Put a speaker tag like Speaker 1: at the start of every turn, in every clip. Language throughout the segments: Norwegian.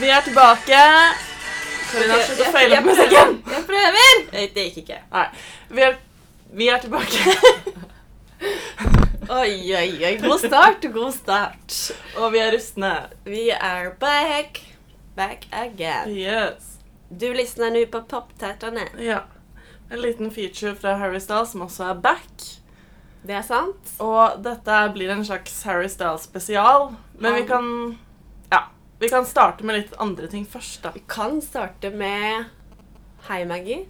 Speaker 1: Vi er tilbake. Karina, slutt å feile opp musikken.
Speaker 2: prøver. Jeg prøver. Nei, Det gikk ikke.
Speaker 1: Vi er, vi er tilbake,
Speaker 2: Oi, oi, oi. God start, god start.
Speaker 1: og vi er rustne.
Speaker 2: We are back. Back again.
Speaker 1: Yes.
Speaker 2: Du lyssnar nu på Poptärtarna.
Speaker 1: Ja. En liten feature fra Harry Styles som også er back.
Speaker 2: Det er sant?
Speaker 1: Og dette blir en slags Harry Styles-spesial. Men vi kan Ja. Vi kan starte med litt andre ting først, da.
Speaker 2: Vi kan starte med Hei, Maggie.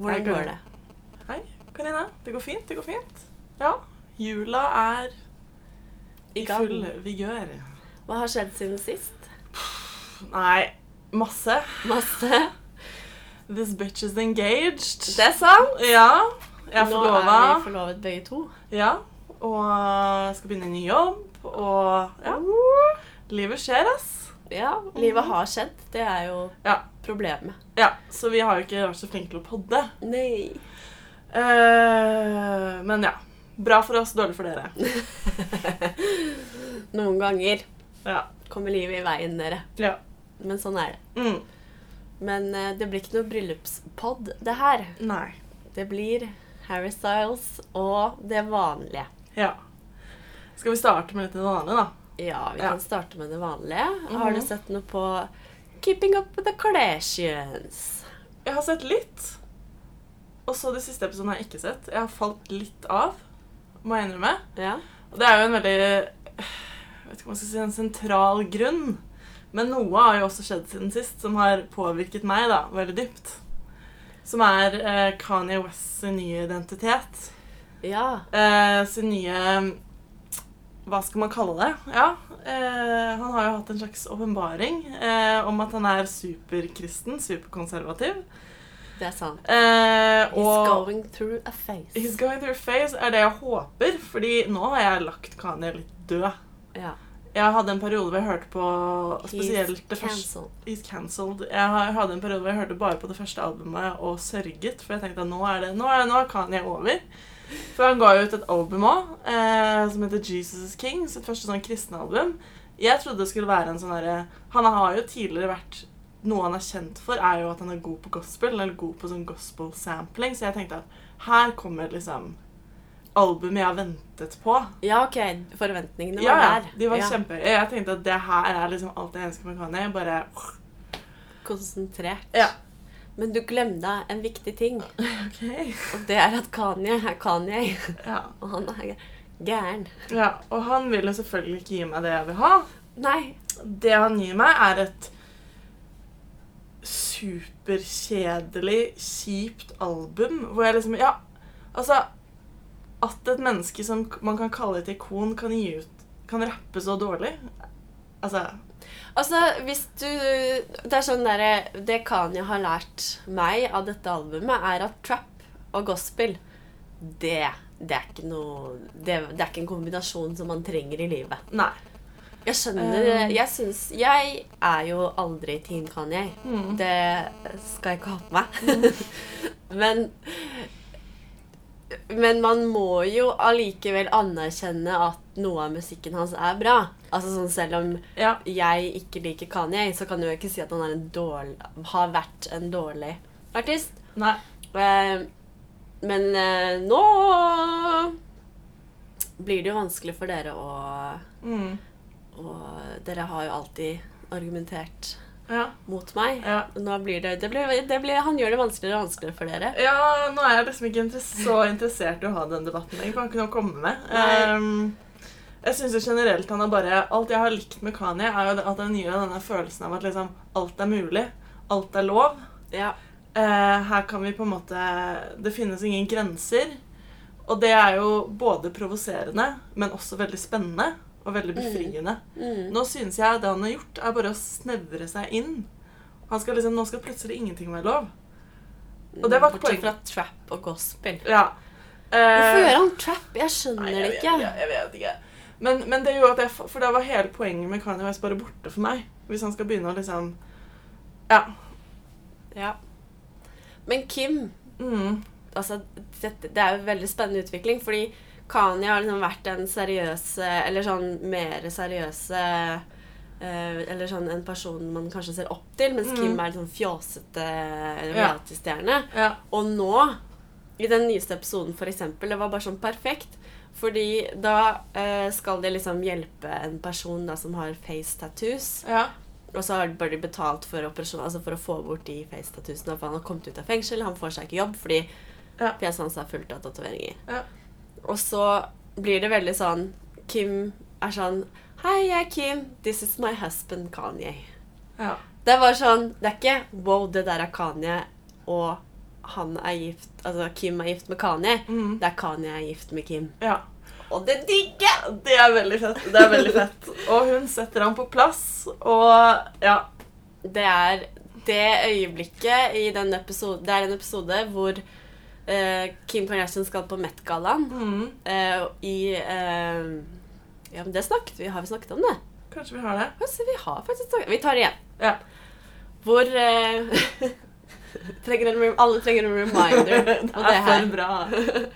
Speaker 2: Hvordan går det?
Speaker 1: Hei, Karina. Det går fint. Det går fint. Ja. Jula er i
Speaker 2: gang.
Speaker 1: full vigør.
Speaker 2: Hva har skjedd siden sist?
Speaker 1: Nei, masse.
Speaker 2: Masse.
Speaker 1: This bitch is engaged.
Speaker 2: Det er sant.
Speaker 1: Ja. Jeg er
Speaker 2: Nå er vi
Speaker 1: forlova.
Speaker 2: forlovet begge to.
Speaker 1: Ja. Og eh, skal begynne i ny jobb. Og ja. Livet skjer, ass.
Speaker 2: Ja, livet har skjedd. Det er jo
Speaker 1: Ja.
Speaker 2: problemet.
Speaker 1: Ja, Så vi har jo ikke vært så flinke til å podde.
Speaker 2: Nei.
Speaker 1: Eh, men ja. Bra for oss, dårlig for dere.
Speaker 2: Noen ganger
Speaker 1: Ja.
Speaker 2: kommer livet i veien, dere.
Speaker 1: ja.
Speaker 2: Men sånn er det.
Speaker 1: Mm.
Speaker 2: Men eh, det blir ikke noe bryllupspod, det her.
Speaker 1: Nei.
Speaker 2: Det blir Harry Styles og det vanlige.
Speaker 1: Ja. Skal vi starte med litt av det vanlige, da?
Speaker 2: Ja, vi
Speaker 1: Ja. Mhm.
Speaker 2: kan starte med det vanlige. Har du sett noe på Keeping Up With The Kardashians?
Speaker 1: Jeg har sett litt. Og så de siste episodene har jeg ikke sett. Jeg har falt litt av, må jeg innrømme.
Speaker 2: Ja.
Speaker 1: Og det er jo en veldig eh, jeg vet ikke om jeg skal si en sentral grunn. Men noe har jo også skjedd siden sist som har påvirket meg da, veldig dypt. Som er eh, Kanye Wests nye identitet.
Speaker 2: ja.
Speaker 1: Eh, sin nye Hva skal man kalle det? Ja, eh, han har jo hatt en slags åpenbaring eh, om at han er superkristen, superkonservativ.
Speaker 2: Det er sant.
Speaker 1: Eh,
Speaker 2: He's
Speaker 1: og
Speaker 2: going through a phase.
Speaker 1: He's going through a phase er det jeg håper, fordi nå har jeg lagt Kanye litt død.
Speaker 2: ja.
Speaker 1: Jeg hadde en periode hvor jeg hørte på spesielt det
Speaker 2: He's
Speaker 1: første
Speaker 2: cancelled.
Speaker 1: He's cancelled. Jeg har- hadde en periode hvor jeg hørte bare på det første albumet og sørget. For jeg tenkte at nå er det, nå er, nå er Kanye over. For han ga jo ut et album òg, eh, som heter Jesus is King. Sitt første sånn kristne album. Jeg trodde det skulle være en sånn derre Han har jo tidligere vært Noe han er kjent for, er jo at han er god på gospel, eller god på sånn gospel sampling. Så jeg tenkte at her kommer liksom albumet jeg har ventet på.
Speaker 2: Ja, ok. Forventningene var
Speaker 1: Ja, ja,
Speaker 2: der.
Speaker 1: de var
Speaker 2: ja.
Speaker 1: kjempehøye. Jeg tenkte at det her er liksom alt jeg ønsker med Kanye. Bare
Speaker 2: Konsentrert.
Speaker 1: Ja.
Speaker 2: Men du glemte en viktig ting,
Speaker 1: OK.
Speaker 2: og det er at Kanye er Kanye.
Speaker 1: Ja.
Speaker 2: Og han er gæren.
Speaker 1: ja. Og han vil jo selvfølgelig ikke gi meg det jeg vil ha.
Speaker 2: Nei.
Speaker 1: Det han gir meg, er et superkjedelig, kjipt album hvor jeg liksom Ja, altså At et menneske som k- man kan kalle et ikon, kan gi ut Kan rappe så dårlig Altså
Speaker 2: Altså, hvis du Det er sånn derre Det Kanye har lært meg av dette albumet, er at trap og gospel, det det er ikke noe det, det er ikke en kombinasjon som man trenger i livet.
Speaker 1: Nei.
Speaker 2: Jeg skjønner
Speaker 1: Um.
Speaker 2: Jeg syns Jeg er jo aldri Team Kanye.
Speaker 1: Mm.
Speaker 2: Det skal jeg ikke ha på meg. men men man må jo allikevel anerkjenne at noe av musikken hans er bra. Altså sånn Selv om
Speaker 1: Ja.
Speaker 2: jeg ikke liker Kanye, så kan jo jeg ikke si at han er en dårlig, har vært en dårlig artist.
Speaker 1: Nei.
Speaker 2: Eh, Men eh, nå blir det jo vanskelig for dere å
Speaker 1: Mm.
Speaker 2: og Dere har jo alltid argumentert
Speaker 1: Ja.
Speaker 2: mot meg.
Speaker 1: ja.
Speaker 2: Nå blir det, det, blir, det blir, Han gjør det vanskeligere og vanskeligere for dere.
Speaker 1: Ja, nå er jeg liksom ikke interes- så interessert i å ha den debatten. Jeg kan ikke noe å komme med.
Speaker 2: Nei.
Speaker 1: Ehm, jeg synes jo generelt han er bare Alt jeg har likt med Kanye, er jo det- at han gir deg denne følelsen av at liksom alt er mulig. Alt er lov.
Speaker 2: Ja.
Speaker 1: Eh, her kan vi på en måte Det finnes ingen grenser. Og det er jo både provoserende, men også veldig spennende og veldig befriende.
Speaker 2: Mm.
Speaker 1: Nå synes jeg det han har gjort, er bare å snevre seg inn. Han skal liksom, Nå skal plutselig ingenting være lov. Og det var ikke
Speaker 2: Bortsett
Speaker 1: poenget.
Speaker 2: fra trap og gospel.
Speaker 1: Ja.
Speaker 2: Hvorfor
Speaker 1: Eh,
Speaker 2: gjør han trap? Jeg skjønner
Speaker 1: Nei,
Speaker 2: det
Speaker 1: jeg vet
Speaker 2: ikke.
Speaker 1: ikke. Jeg vet ikke. Men, men det gjorde at jeg, for da var hele poenget med Kanye West bare borte for meg. Hvis han skal begynne å liksom Ja.
Speaker 2: Ja. Men Kim
Speaker 1: Mm,
Speaker 2: altså, dette, det er jo en veldig spennende utvikling, fordi Kanye har liksom vært den seriøse, eller sånn mer seriøse eh, eller sånn en person man kanskje ser opp til, mens
Speaker 1: Mm.
Speaker 2: Kim er litt sånn fjåsete
Speaker 1: Ja.
Speaker 2: reality-stjerne.
Speaker 1: Ja.
Speaker 2: Og nå, i den nyeste episoden for eksempel, det var bare sånn perfekt. Fordi da eh, skal de liksom hjelpe en person da, som har face tattoos.
Speaker 1: Ja.
Speaker 2: Og så har bare de betalt for, operasjon, altså for å få bort de face tattoosene. For han har kommet ut av fengsel, han får seg ikke jobb fordi
Speaker 1: Ja.
Speaker 2: fjeset hans er fullt av tatoveringer.
Speaker 1: Ja.
Speaker 2: Og så blir det veldig sånn Kim er sånn Hei, jeg er Kim. This is my husband Kanye.
Speaker 1: Ja.
Speaker 2: Det var sånn Det er ikke Wow, det der er Kanye, og han er gift Altså, Kim er gift med Kanye.
Speaker 1: Mm.
Speaker 2: Det er Kanye er gift med Kim.
Speaker 1: ja.
Speaker 2: Og det digger jeg!
Speaker 1: Det er veldig fett. Det er veldig fett. Og hun setter ham på plass, og ja.
Speaker 2: Det er det øyeblikket i den episoden Det er en episode hvor eh, Kim Kardashian skal på Met-gallaen
Speaker 1: Mm.
Speaker 2: eh, i eh, Ja, men det snakket vi Har vi snakket om det?
Speaker 1: Kanskje vi har det.
Speaker 2: Altså, vi har faktisk snakket Vi tar det igjen.
Speaker 1: Ja.
Speaker 2: Hvor eh, trenger en, rem- Alle trenger en reminder om det
Speaker 1: er
Speaker 2: her.
Speaker 1: for bra.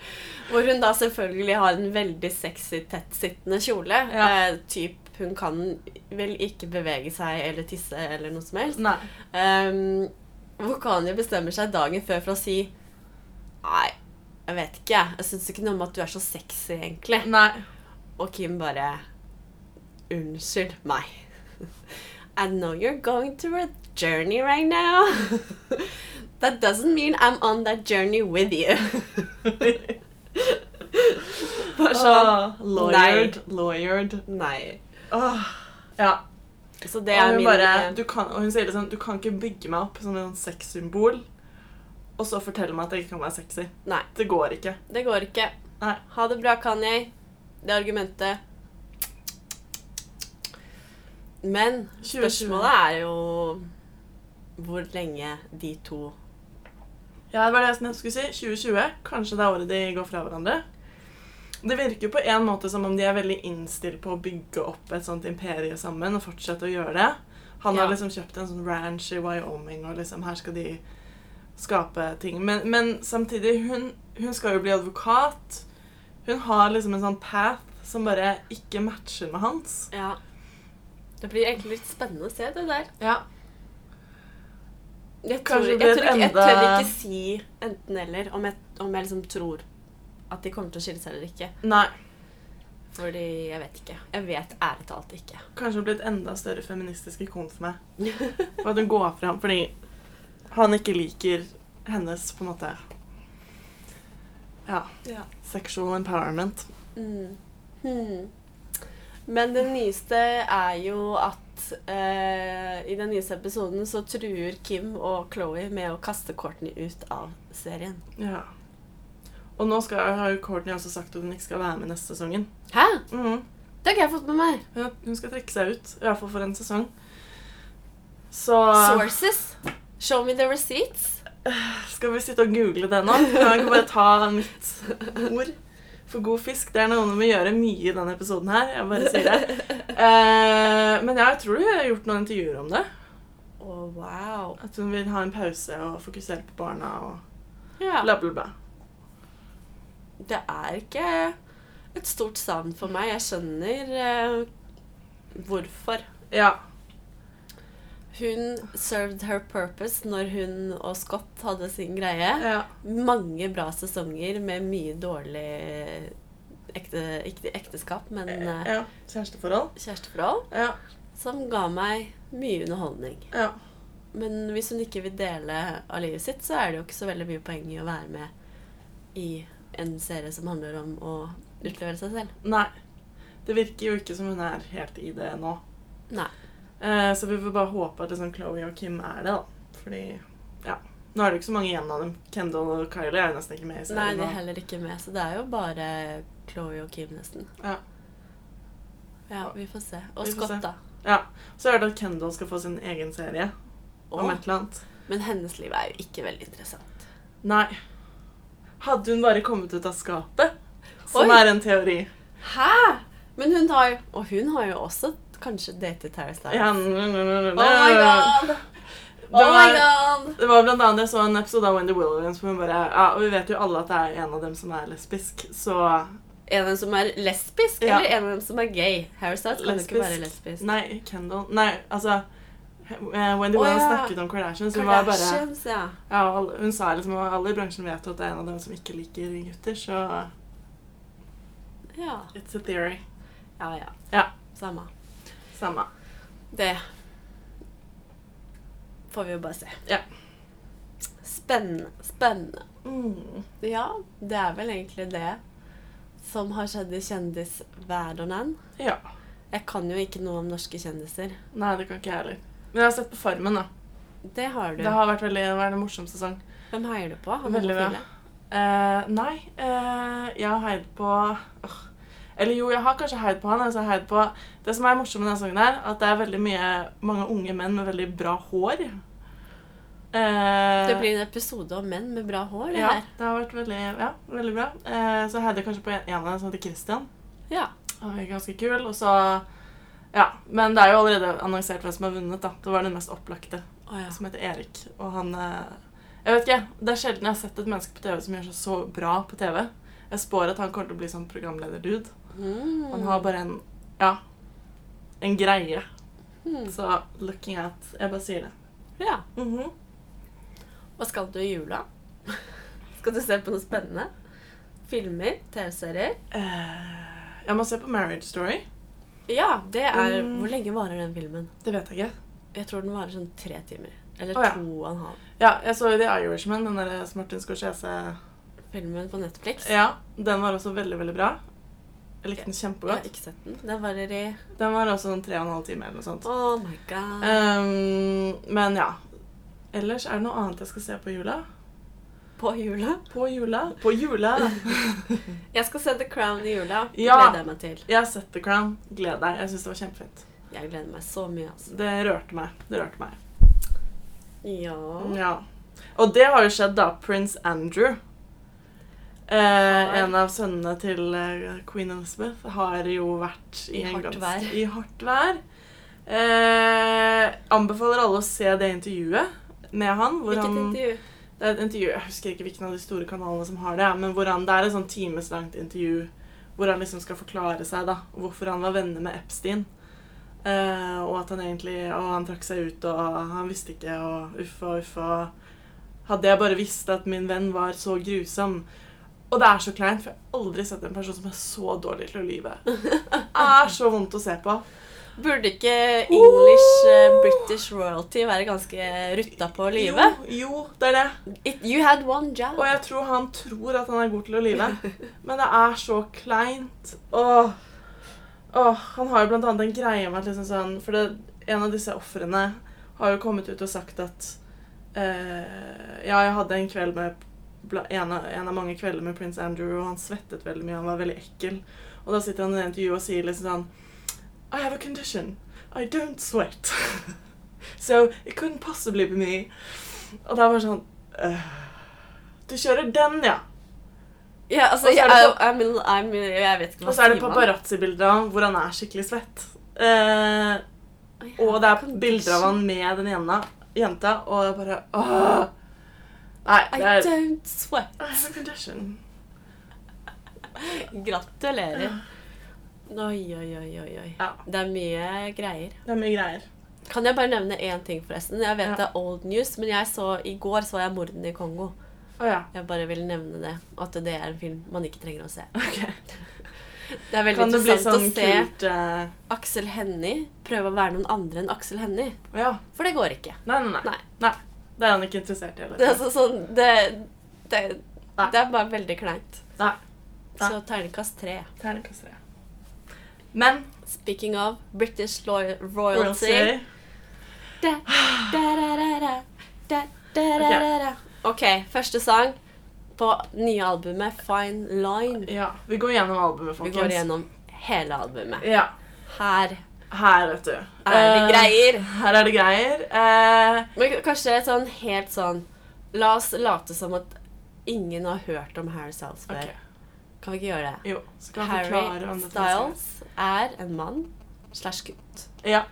Speaker 2: Hvor hun da selvfølgelig har en veldig sexy, tettsittende kjole.
Speaker 1: Ja.
Speaker 2: Eh, typ hun kan vel ikke bevege seg eller tisse eller noe som helst.
Speaker 1: Nei.
Speaker 2: Um, hvor Kanye bestemmer seg dagen før for å si Nei, jeg vet ikke. jeg. Jeg syns ikke noe om at du er så sexy, egentlig.
Speaker 1: Nei.
Speaker 2: Og Kim bare Unnskyld meg. I know you're going through a journey right now. That doesn't mean I'm on that journey with you. Bare sånn
Speaker 1: Åh, lawyered. Lawyered.
Speaker 2: Nei.
Speaker 1: Åh. Ja.
Speaker 2: Så det
Speaker 1: og
Speaker 2: er
Speaker 1: hun,
Speaker 2: min eh,
Speaker 1: bare, du kan, og hun sier liksom Du kan ikke bygge meg opp som et sånt sexsymbol og så fortelle meg at jeg ikke kan være sexy.
Speaker 2: Nei,
Speaker 1: Det går ikke.
Speaker 2: det går ikke.
Speaker 1: Nei.
Speaker 2: Ha det bra, Kanye. Det er argumentet. Men
Speaker 1: 2020.
Speaker 2: spørsmålet er jo hvor lenge de to
Speaker 1: Ja, det var det jeg nettopp skulle si. 2020. Kanskje det er året de går fra hverandre. Det virker på en måte som om de er veldig innstilt på å bygge opp et sånt imperie sammen og fortsette å gjøre det. Han
Speaker 2: Ja.
Speaker 1: har liksom kjøpt en sånn ranch i Wyoming, og liksom her skal de skape ting. Men, men samtidig, hun, hun skal jo bli advokat. Hun har liksom en sånn path som bare ikke matcher med hans.
Speaker 2: Ja. Det blir egentlig litt spennende å se det der.
Speaker 1: Ja.
Speaker 2: Jeg tror,
Speaker 1: Kanskje
Speaker 2: jeg
Speaker 1: det blir
Speaker 2: tror ikke, jeg
Speaker 1: et
Speaker 2: tør
Speaker 1: enda-
Speaker 2: ikke si enten-eller om, jeg- om jeg liksom tror at de kommer til å skille seg eller ikke.
Speaker 1: Nei.
Speaker 2: Fordi jeg vet ikke. Jeg vet ærlig talt ikke.
Speaker 1: Kanskje hun blir et enda større feministisk ikon for meg. Og at hun går fram fordi han ikke liker hennes på en måte Ja.
Speaker 2: Ja.
Speaker 1: Sexual empowerment.
Speaker 2: Mm. Hmm. Men det nyeste er jo at eh, i den nyeste episoden så truer Kim og Chloé med å kaste Courtney ut av serien.
Speaker 1: Ja. Og nå skal, har jo Courtney også sagt at hun ikke skal være med neste sesongen.
Speaker 2: Hæ?
Speaker 1: Mhm.
Speaker 2: Det har ikke jeg fått med meg.
Speaker 1: Hun, hun skal trekke seg ut, i hvert fall for en sesong. Så
Speaker 2: Sources. Show me the receipts.
Speaker 1: eh, skal vi sitte og google det nå. Kan jeg ikke bare ta mitt ord for god fisk? Det er noe vi må gjøre mye i denne episoden her. Jeg bare sier det. Eh, men ja, jeg tror du har gjort noen intervjuer om det.
Speaker 2: Å, wow.
Speaker 1: At hun vil ha en pause og fokusere på barna og
Speaker 2: Ja.
Speaker 1: bla, bla, bla.
Speaker 2: Det er ikke et stort savn for meg. Jeg skjønner eh, hvorfor.
Speaker 1: Ja.
Speaker 2: Hun served her purpose når hun og Scott hadde sin greie.
Speaker 1: ja.
Speaker 2: Mange bra sesonger med mye dårlig ekte, ikke ekteskap, men eh,
Speaker 1: ja. Kjæresteforhold.
Speaker 2: kjæresteforhold,
Speaker 1: Ja.
Speaker 2: som ga meg mye underholdning.
Speaker 1: ja.
Speaker 2: Men hvis hun ikke vil dele av livet sitt, så er det jo ikke så veldig mye poeng i å være med i en serie som handler om å utlevere seg selv.
Speaker 1: Nei. Det virker jo ikke som hun er helt i det nå.
Speaker 2: Nei.
Speaker 1: Eh, så vi får bare håpe at liksom Chloé og Kim er det, da. Fordi ja. Nå er det jo ikke så mange igjen av dem. Kendal og Kylie er jo nesten ikke med i
Speaker 2: Nei,
Speaker 1: serien.
Speaker 2: de
Speaker 1: nå.
Speaker 2: er heller ikke med, så det er jo bare Chloé og Kim, nesten.
Speaker 1: Ja.
Speaker 2: Ja, vi får se. Og
Speaker 1: Vi får
Speaker 2: Scott,
Speaker 1: se.
Speaker 2: da.
Speaker 1: Ja, Så har jeg hørt at Kendal skal få sin egen serie om
Speaker 2: Åh,
Speaker 1: et eller annet.
Speaker 2: men hennes liv er jo ikke veldig interessant.
Speaker 1: Nei. Hadde hun bare kommet ut av skapet? Som
Speaker 2: Oi.
Speaker 1: er en teori.
Speaker 2: Hæ?! Men hun har jo Og hun har jo også kanskje datet Harry Styles.
Speaker 1: Ja, n- n- n- n-
Speaker 2: Oh my god!
Speaker 1: Det
Speaker 2: Oh my
Speaker 1: var-
Speaker 2: god!
Speaker 1: Det var blant annet jeg så en episode av Wendy Williams hvor hun bare Ja, og vi vet jo alle at det er en av dem som er lesbisk, så
Speaker 2: En av dem som er lesbisk,
Speaker 1: Ja.
Speaker 2: eller en av dem som er gay? Harry Styles kan jo ikke være lesbisk.
Speaker 1: Nei, Kendall Nei, altså eh, Wendy
Speaker 2: Å,
Speaker 1: Wells
Speaker 2: ja.
Speaker 1: snakket om Kardashians. Hun, var altså, bare,
Speaker 2: Kardashians, ja.
Speaker 1: ja, alle- hun sa liksom at alle i bransjen vet at det er en av dem som ikke liker gutter, så
Speaker 2: ja.
Speaker 1: it's a theory.
Speaker 2: Ja, ja.
Speaker 1: Ja.
Speaker 2: Samme.
Speaker 1: Samme.
Speaker 2: Det får vi jo bare se.
Speaker 1: Ja.
Speaker 2: Spennende. Spennende.
Speaker 1: Mm.
Speaker 2: Ja, det er vel egentlig det som har skjedd i kjendisverdenen.
Speaker 1: Ja.
Speaker 2: Jeg kan jo ikke noe om norske kjendiser.
Speaker 1: Nei, det kan ikke jeg heller. Men jeg har sett på Farmen, da.
Speaker 2: Det har du.
Speaker 1: Det har vært veldig, det har vært en morsom sesong.
Speaker 2: Hvem heier du på? Han
Speaker 1: Veldig bra.
Speaker 2: homofile?
Speaker 1: Eh, nei, eh, jeg har heid på åh. Eller jo, jeg har kanskje heid på han. Altså jeg har heid på, det som er morsomt med denne sangen, er at det er veldig mye, mange unge menn med veldig bra hår. Eh,
Speaker 2: Det blir en episode om menn med bra hår. det
Speaker 1: ja,
Speaker 2: her.
Speaker 1: det har vært veldig, ja, veldig bra. Eh, så jeg heide kanskje på en, en av dem som heter Christian.
Speaker 2: Ja.
Speaker 1: Han er ganske kul. Og så Ja. Men det er jo allerede annonsert hvem som har vunnet, da. Det var den mest opplagte,
Speaker 2: Å, ja.
Speaker 1: som heter Erik. Og han eh, Jeg vet ikke. Det er sjelden jeg har sett et menneske på TV som gjør seg så bra på TV. Jeg spår at han kommer til å bli sånn programleder-dude.
Speaker 2: Mm.
Speaker 1: Han har bare en Ja. En greie.
Speaker 2: Mm.
Speaker 1: Så looking at Jeg bare sier det.
Speaker 2: ja.
Speaker 1: Mhm.
Speaker 2: Hva skal du i jula? skal du se på noe spennende? Filmer? TV-serier?
Speaker 1: Eh, jeg må se på Marriage Story.
Speaker 2: Ja, det er
Speaker 1: Mm.
Speaker 2: Hvor lenge varer den filmen?
Speaker 1: Det vet jeg ikke.
Speaker 2: Jeg tror den varer sånn tre timer. Eller
Speaker 1: Å, ja.
Speaker 2: to og en halv.
Speaker 1: Ja, jeg så jo The Irishman, den der eh, Martin Scorsese
Speaker 2: Filmen på Netflix.
Speaker 1: Ja, den var også veldig, veldig bra. Jeg likte den
Speaker 2: Jeg har
Speaker 1: kjempegodt.
Speaker 2: ikke sett den. Den varer i
Speaker 1: Den var også sånn tre og en halv time eller noe sånt.
Speaker 2: Oh my god.
Speaker 1: Eh. Ehm, men ja. Ellers er det noe annet jeg skal se på jula.
Speaker 2: På jula?
Speaker 1: På jula. På jula!
Speaker 2: Jeg skal se The Crown i jula. Det
Speaker 1: Ja.
Speaker 2: gleder jeg meg til.
Speaker 1: Jeg har sett The Crown. Gled deg. Jeg syns det var kjempefint.
Speaker 2: Jeg gleder meg så mye, altså.
Speaker 1: Det rørte meg. Det rørte meg.
Speaker 2: Ja.
Speaker 1: Ja. Og det har jo skjedd, da. Prince Andrew. Eh, en av sønnene til eh, queen Elizabeth har jo vært
Speaker 2: I
Speaker 1: i, en
Speaker 2: hardt
Speaker 1: gans-
Speaker 2: vær.
Speaker 1: I hardt vær. Eh, anbefaler alle å se det intervjuet med han. Hvor
Speaker 2: Hvilket
Speaker 1: han
Speaker 2: intervju?
Speaker 1: Det er et intervju, Jeg husker ikke hvilken av de store kanalene som har det, men hvor han, det er et sånn timeslangt intervju hvor han liksom skal forklare seg da, hvorfor han var venner med Epstein. Eh, og at han egentlig Og han trakk seg ut, og han visste ikke, og uff og uff og Hadde jeg bare visst at min venn var så grusom Og det er så kleint, for jeg har aldri sett en person som er så dårlig til å lyve. Det er så vondt å se på.
Speaker 2: Burde ikke English eh, British royalty være ganske rutta på å lyve?
Speaker 1: Jo, jo, det er det.
Speaker 2: It- You had one job.
Speaker 1: Og jeg tror han tror at han er god til å lyve. Men det er så kleint. Åh. Åh, han har jo blant annet en greie med at liksom sånn For det, en av disse ofrene har jo kommet ut og sagt at eh, Ja, jeg hadde en kveld med bla- en av, en av mange kvelder med prins Andrew, og han svettet veldig mye, han var veldig ekkel. Og da sitter han i det intervjuet og sier liksom sånn I have a condition. I don't sweat. so it couldn't possibly be me. Og det er bare sånn øh, Du kjører den, ja.
Speaker 2: Ja, altså,
Speaker 1: Og så
Speaker 2: jeg,
Speaker 1: er det på-
Speaker 2: I'm, in- I'm, in- jeg vet ikke
Speaker 1: Og så er det
Speaker 2: sier man.
Speaker 1: paparazzi-bilder av ham hvor han er skikkelig svett. Eh,
Speaker 2: Å, ja,
Speaker 1: og det er
Speaker 2: condition.
Speaker 1: bilder av han med den ene jenta, og jeg bare åh. Nei,
Speaker 2: I
Speaker 1: det er
Speaker 2: don't sweat.
Speaker 1: I have a condition.
Speaker 2: Gratulerer. Oi, oi, oi, oi. oi.
Speaker 1: Ja.
Speaker 2: Det er mye greier.
Speaker 1: Det er mye greier.
Speaker 2: Kan jeg bare nevne én ting, forresten? Jeg vet
Speaker 1: Ja.
Speaker 2: det er old news, men jeg så, i går så jeg 'Mordene i Kongo'.
Speaker 1: Å ja.
Speaker 2: Jeg bare vil nevne det. At det er en film man ikke trenger å se.
Speaker 1: Ok.
Speaker 2: Det er veldig
Speaker 1: Kan det bli
Speaker 2: interessant
Speaker 1: sånn
Speaker 2: å se
Speaker 1: kult eh,
Speaker 2: Aksel Hennie prøve å være noen andre enn Aksel Hennie.
Speaker 1: Å ja.
Speaker 2: For det går ikke.
Speaker 1: Nei, nei, nei,
Speaker 2: Nei.
Speaker 1: nei. Det er han ikke interessert i
Speaker 2: Det er,
Speaker 1: heller.
Speaker 2: altså sånn, det, det,
Speaker 1: Nei.
Speaker 2: det er bare veldig kleint.
Speaker 1: Nei. Nei.
Speaker 2: Så terningkast tre.
Speaker 1: Terningkast tre. Men
Speaker 2: Speaking of British lo- royalty
Speaker 1: royalty
Speaker 2: da, da, da, da, da, da, da, da, da, da. OK, første sang på nye albumet Fine Line.
Speaker 1: Ja. Vi går gjennom albumet,
Speaker 2: Vi
Speaker 1: folkens.
Speaker 2: går gjennom hele albumet.
Speaker 1: Ja.
Speaker 2: Her
Speaker 1: Her, vet du.
Speaker 2: er det
Speaker 1: Eh,
Speaker 2: greier.
Speaker 1: Her er det greier. Eh,
Speaker 2: Men k- kanskje et sånn helt sånn La oss late som at ingen har hørt om Harry Styles før.
Speaker 1: Ok.
Speaker 2: Kan vi ikke gjøre det?
Speaker 1: Jo, skal han forklare
Speaker 2: Harry
Speaker 1: om dette
Speaker 2: Styles er en mann slash gutt.
Speaker 1: Ja.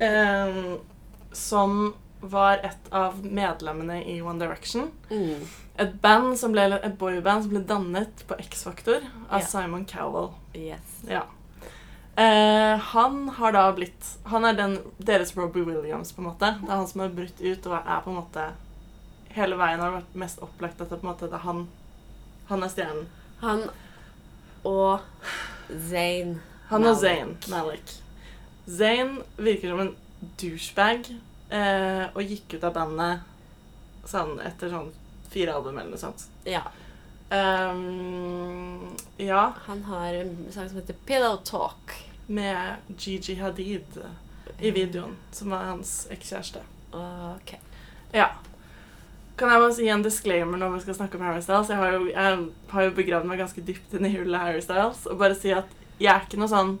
Speaker 1: Ehm, som var et av medlemmene i One Direction.
Speaker 2: Mm.
Speaker 1: Et band som ble, et boyband som ble dannet på X-Faktor av
Speaker 2: Ja.
Speaker 1: Simon Cowell.
Speaker 2: Yes.
Speaker 1: Ja. Eh, han har da blitt Han er den, deres Robbie Williams, på en måte. Det er han som har brutt ut og er på en måte Hele veien har vært mest opplagt at det på en måte det er han. Han er stjernen.
Speaker 2: Han og Zayn.
Speaker 1: Han og
Speaker 2: Malik.
Speaker 1: Zayn Malik. Zayn virker som en douchebag eh, og gikk ut av bandet sånn, etter sånn fire album eller noe sånt.
Speaker 2: Ja.
Speaker 1: Ehm, ja,
Speaker 2: Han har en sang som heter 'Pillow Talk'.
Speaker 1: med Gigi Hadid i
Speaker 2: Mm.
Speaker 1: videoen, som var hans ekskjæreste.
Speaker 2: Ok.
Speaker 1: Ja. Kan jeg bare si en disclaimer når vi skal snakke om Harry Styles? Jeg har jo, jeg har jo begravd meg ganske dypt inn i hullet Harry Styles. Og bare si at jeg er ikke noe sånn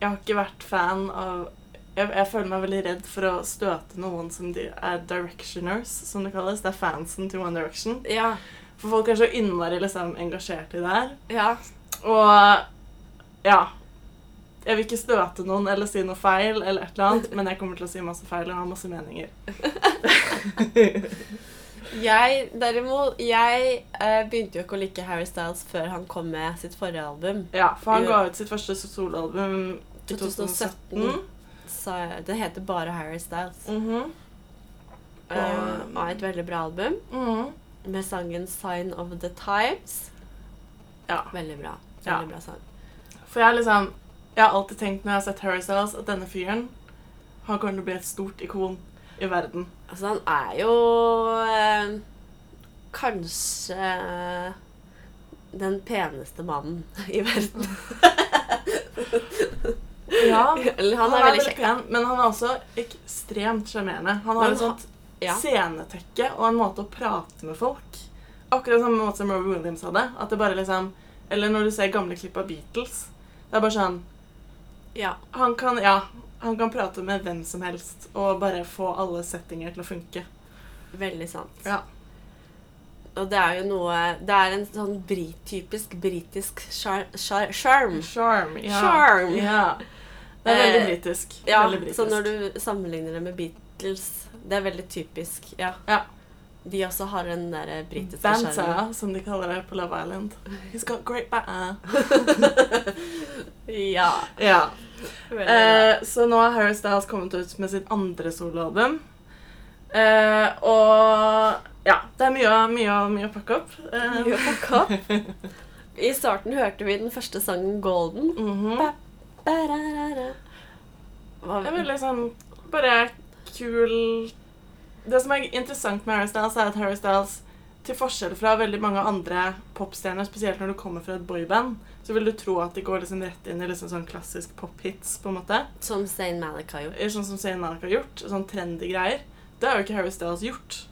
Speaker 1: Jeg har ikke vært fan av jeg, jeg føler meg veldig redd for å støte noen som de er directioners, som det kalles. Det er fansen til One Direction.
Speaker 2: Ja.
Speaker 1: For folk er så innmari liksom, engasjert i det her.
Speaker 2: Ja.
Speaker 1: Og ja. Jeg vil ikke støte noen eller si noe feil, eller et eller annet, men jeg kommer til å si masse feil og ha masse meninger.
Speaker 2: Jeg, derimot, jeg eh, begynte jo ikke å like Harry Styles før han kom med sitt forrige album.
Speaker 1: Ja, for han
Speaker 2: Jo.
Speaker 1: ga ut sitt første soloalbum i 2017.
Speaker 2: 2017. Så det heter bare Harry Styles.
Speaker 1: Mhm.
Speaker 2: Eh,
Speaker 1: Og-
Speaker 2: Og er et veldig bra album
Speaker 1: Mhm.
Speaker 2: med sangen 'Sign of the Times'.
Speaker 1: Ja.
Speaker 2: Veldig bra.
Speaker 1: Ja.
Speaker 2: Veldig bra sang.
Speaker 1: For jeg har liksom Jeg har alltid tenkt når jeg har sett Harry Styles, at denne fyren Han kommer til å bli et stort ikon i verden.
Speaker 2: Altså, han er jo eh, kanskje eh, den peneste mannen i verden.
Speaker 1: Ja, han
Speaker 2: Eller
Speaker 1: er,
Speaker 2: han er veldig
Speaker 1: veldig
Speaker 2: kjekk.
Speaker 1: pen, men han er også ekstremt sjarmerende. Han har
Speaker 2: Men
Speaker 1: et
Speaker 2: han-
Speaker 1: sånt
Speaker 2: Ja.
Speaker 1: scenetekke og en måte å prate med folk. Akkurat samme måte som Robbie Williams hadde. At det bare liksom Eller når du ser gamle klipp av Beatles. Det er bare sånn
Speaker 2: ja.
Speaker 1: Han kan, ja, han kan prate med hvem som helst og bare få alle settinger til å funke.
Speaker 2: Veldig sant.
Speaker 1: Ja.
Speaker 2: Og det er jo noe Det er en sånn brit, typisk britisk sjar- sjar- sjarm.
Speaker 1: Charm. Ja.
Speaker 2: Charm.
Speaker 1: Ja. Det er veldig
Speaker 2: Eh,
Speaker 1: britisk.
Speaker 2: Ja,
Speaker 1: veldig britisk.
Speaker 2: så når du sammenligner det med Beatles Det er veldig typisk. Ja.
Speaker 1: Ja.
Speaker 2: De også har den der britiske sjarmen.
Speaker 1: Banter, som de kaller det på Love Island. He's got great banter.
Speaker 2: Ja.
Speaker 1: Ja.
Speaker 2: Veldig bra.
Speaker 1: Eh, så nå har Harry Styles kommet ut med sitt andre soloalbum. Eh, og ja, det er mye, å- mye, å- mye å pakke opp. Eh,
Speaker 2: Mye å pakke opp. Eh, I starten hørte vi den første sangen 'Golden'.
Speaker 1: mhm.
Speaker 2: Ba-ra-ra-ra. Hva-
Speaker 1: Det er veldig sånn bare kul Det som er interessant med Harry Styles, er at Harry Styles til forskjell fra veldig mange andre popstjerner, spesielt når du kommer fra et boyband, så vil du tro at de går liksom rett inn i liksom sånn klassisk pophits, på en måte.
Speaker 2: Som Zayn Malik har gjort.
Speaker 1: Eller sånn som Zayn Malik har gjort, sånn trendy greier. Det har jo ikke Harry Styles gjort.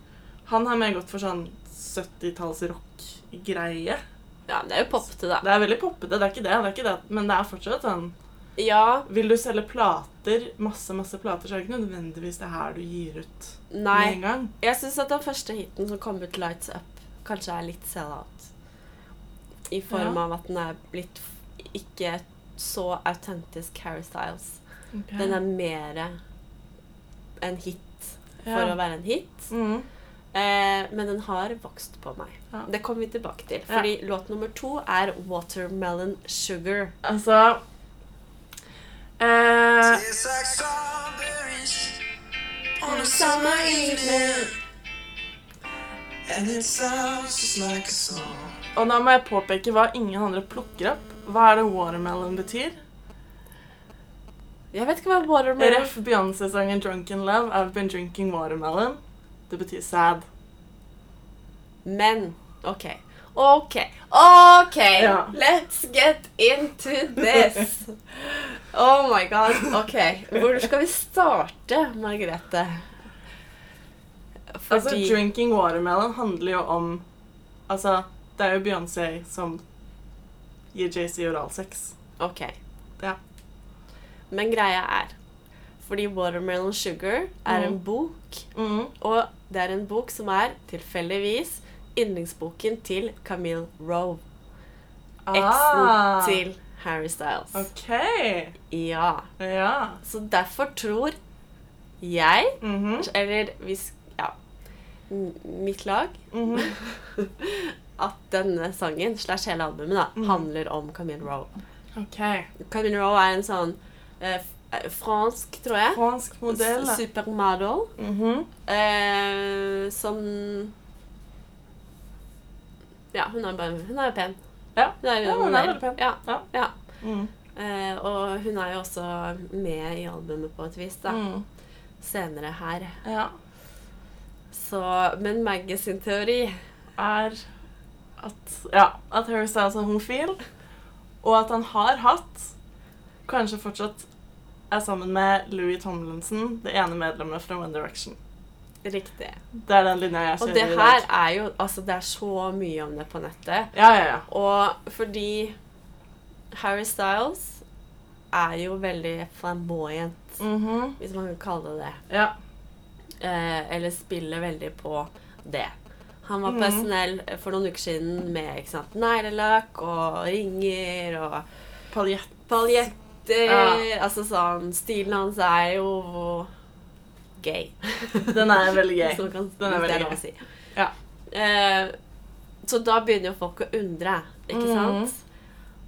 Speaker 1: Han har mer gått for sånn 70-talls rock-greie.
Speaker 2: Ja, men det er jo pop til, da.
Speaker 1: Det er veldig poppete, det er ikke det, det er ikke det, men det er fortsatt sånn
Speaker 2: Ja.
Speaker 1: Vil du selge plater, masse, masse plater, så er det ikke nødvendigvis det her du gir ut med
Speaker 2: Nei.
Speaker 1: en gang.
Speaker 2: Jeg syns at den første hiten som kom ut, 'Lights Up', kanskje er litt sell-out. I form
Speaker 1: Ja.
Speaker 2: av at den er blitt f- ikke så autentisk Harry Styles.
Speaker 1: Ok.
Speaker 2: Den er mer en hit for
Speaker 1: Ja.
Speaker 2: å være en hit.
Speaker 1: Mhm.
Speaker 2: Eh, men den har vokst på meg.
Speaker 1: Ja.
Speaker 2: Det kommer vi tilbake til.
Speaker 1: Ja.
Speaker 2: Fordi låt nummer to er 'Watermelon Sugar'.
Speaker 1: Altså eh,
Speaker 3: Tastes like strawberries on a summer evening. And it sounds just like a song.
Speaker 1: Og da må jeg påpeke hva ingen andre plukker opp. Hva er det watermelon betyr?
Speaker 2: Jeg vet ikke hva watermelon
Speaker 1: RF Beyoncé-sangen 'Drunken Love' I've been drinking watermelon. Det betyr sad.
Speaker 2: Men OK. OK. OK!
Speaker 1: Ja.
Speaker 2: Let's get into this! Oh my god. OK. Hvor skal vi starte, Margrethe?
Speaker 1: Altså,
Speaker 2: Fordi
Speaker 1: 'Drinking watermelon' handler jo om Altså, det er jo Beyoncé som gir JC oralsex.
Speaker 2: OK.
Speaker 1: Ja.
Speaker 2: Men greia er Fordi Watermelon Sugar er en bok,
Speaker 1: Mhm.
Speaker 2: og det er en bok som er tilfeldigvis yndlingsboken til Camille Rowe. Eksen
Speaker 1: Ah,
Speaker 2: til Harry Styles.
Speaker 1: OK.
Speaker 2: Ja.
Speaker 1: Ja.
Speaker 2: Så derfor tror jeg,
Speaker 1: Mhm,
Speaker 2: eller hvis Ja. m- Mitt lag.
Speaker 1: mhm.
Speaker 2: At denne sangen, slash hele albumet, da,
Speaker 1: Mhm.
Speaker 2: handler om Camille Rowe.
Speaker 1: OK.
Speaker 2: Camille Rowe er en sånn eh, f- eh, fransk, tror jeg.
Speaker 1: Fransk modell.
Speaker 2: S- Supermodel.
Speaker 1: Mhm.
Speaker 2: Eh, som Ja, hun er bare Hun er jo pen.
Speaker 1: Ja.
Speaker 2: Hun er jo
Speaker 1: Ja, hun er veldig pen.
Speaker 2: Ja.
Speaker 1: Ja.
Speaker 2: ja.
Speaker 1: Mm.
Speaker 2: Eh, og hun er jo også med i albumet på et vis, da.
Speaker 1: Mm.
Speaker 2: Senere her.
Speaker 1: Ja.
Speaker 2: Så Men Maggie sin teori
Speaker 1: er at, ja, at Harry Styles er homofil, og at han har hatt, kanskje fortsatt er sammen med Louis Tomlinson, det ene medlemmet fra One Direction.
Speaker 2: Riktig.
Speaker 1: Det er den linja jeg
Speaker 2: Og
Speaker 1: kjører
Speaker 2: det
Speaker 1: i
Speaker 2: her
Speaker 1: dag.
Speaker 2: er jo Altså, det er så mye om det på nettet.
Speaker 1: Ja, ja, ja.
Speaker 2: Og fordi Harry Styles er jo veldig flamboyant,
Speaker 1: Mhm,
Speaker 2: hvis man kan kalle det det.
Speaker 1: ja.
Speaker 2: Eh, eller spiller veldig på det. Han var
Speaker 1: Mhm.
Speaker 2: på SNL for noen uker siden med ikke sant, neglelakk og ringer og
Speaker 1: Paljett.
Speaker 2: paljetter.
Speaker 1: Ja.
Speaker 2: Altså sånn Stilen hans er jo gay.
Speaker 1: Den er veldig
Speaker 2: Hvis man
Speaker 1: gøy.
Speaker 2: kan-
Speaker 1: Den er
Speaker 2: hvis det
Speaker 1: veldig
Speaker 2: lov å
Speaker 1: gøy.
Speaker 2: Si.
Speaker 1: Ja.
Speaker 2: Eh, så da begynner jo folk å undre, ikke
Speaker 1: Mhm.
Speaker 2: sant?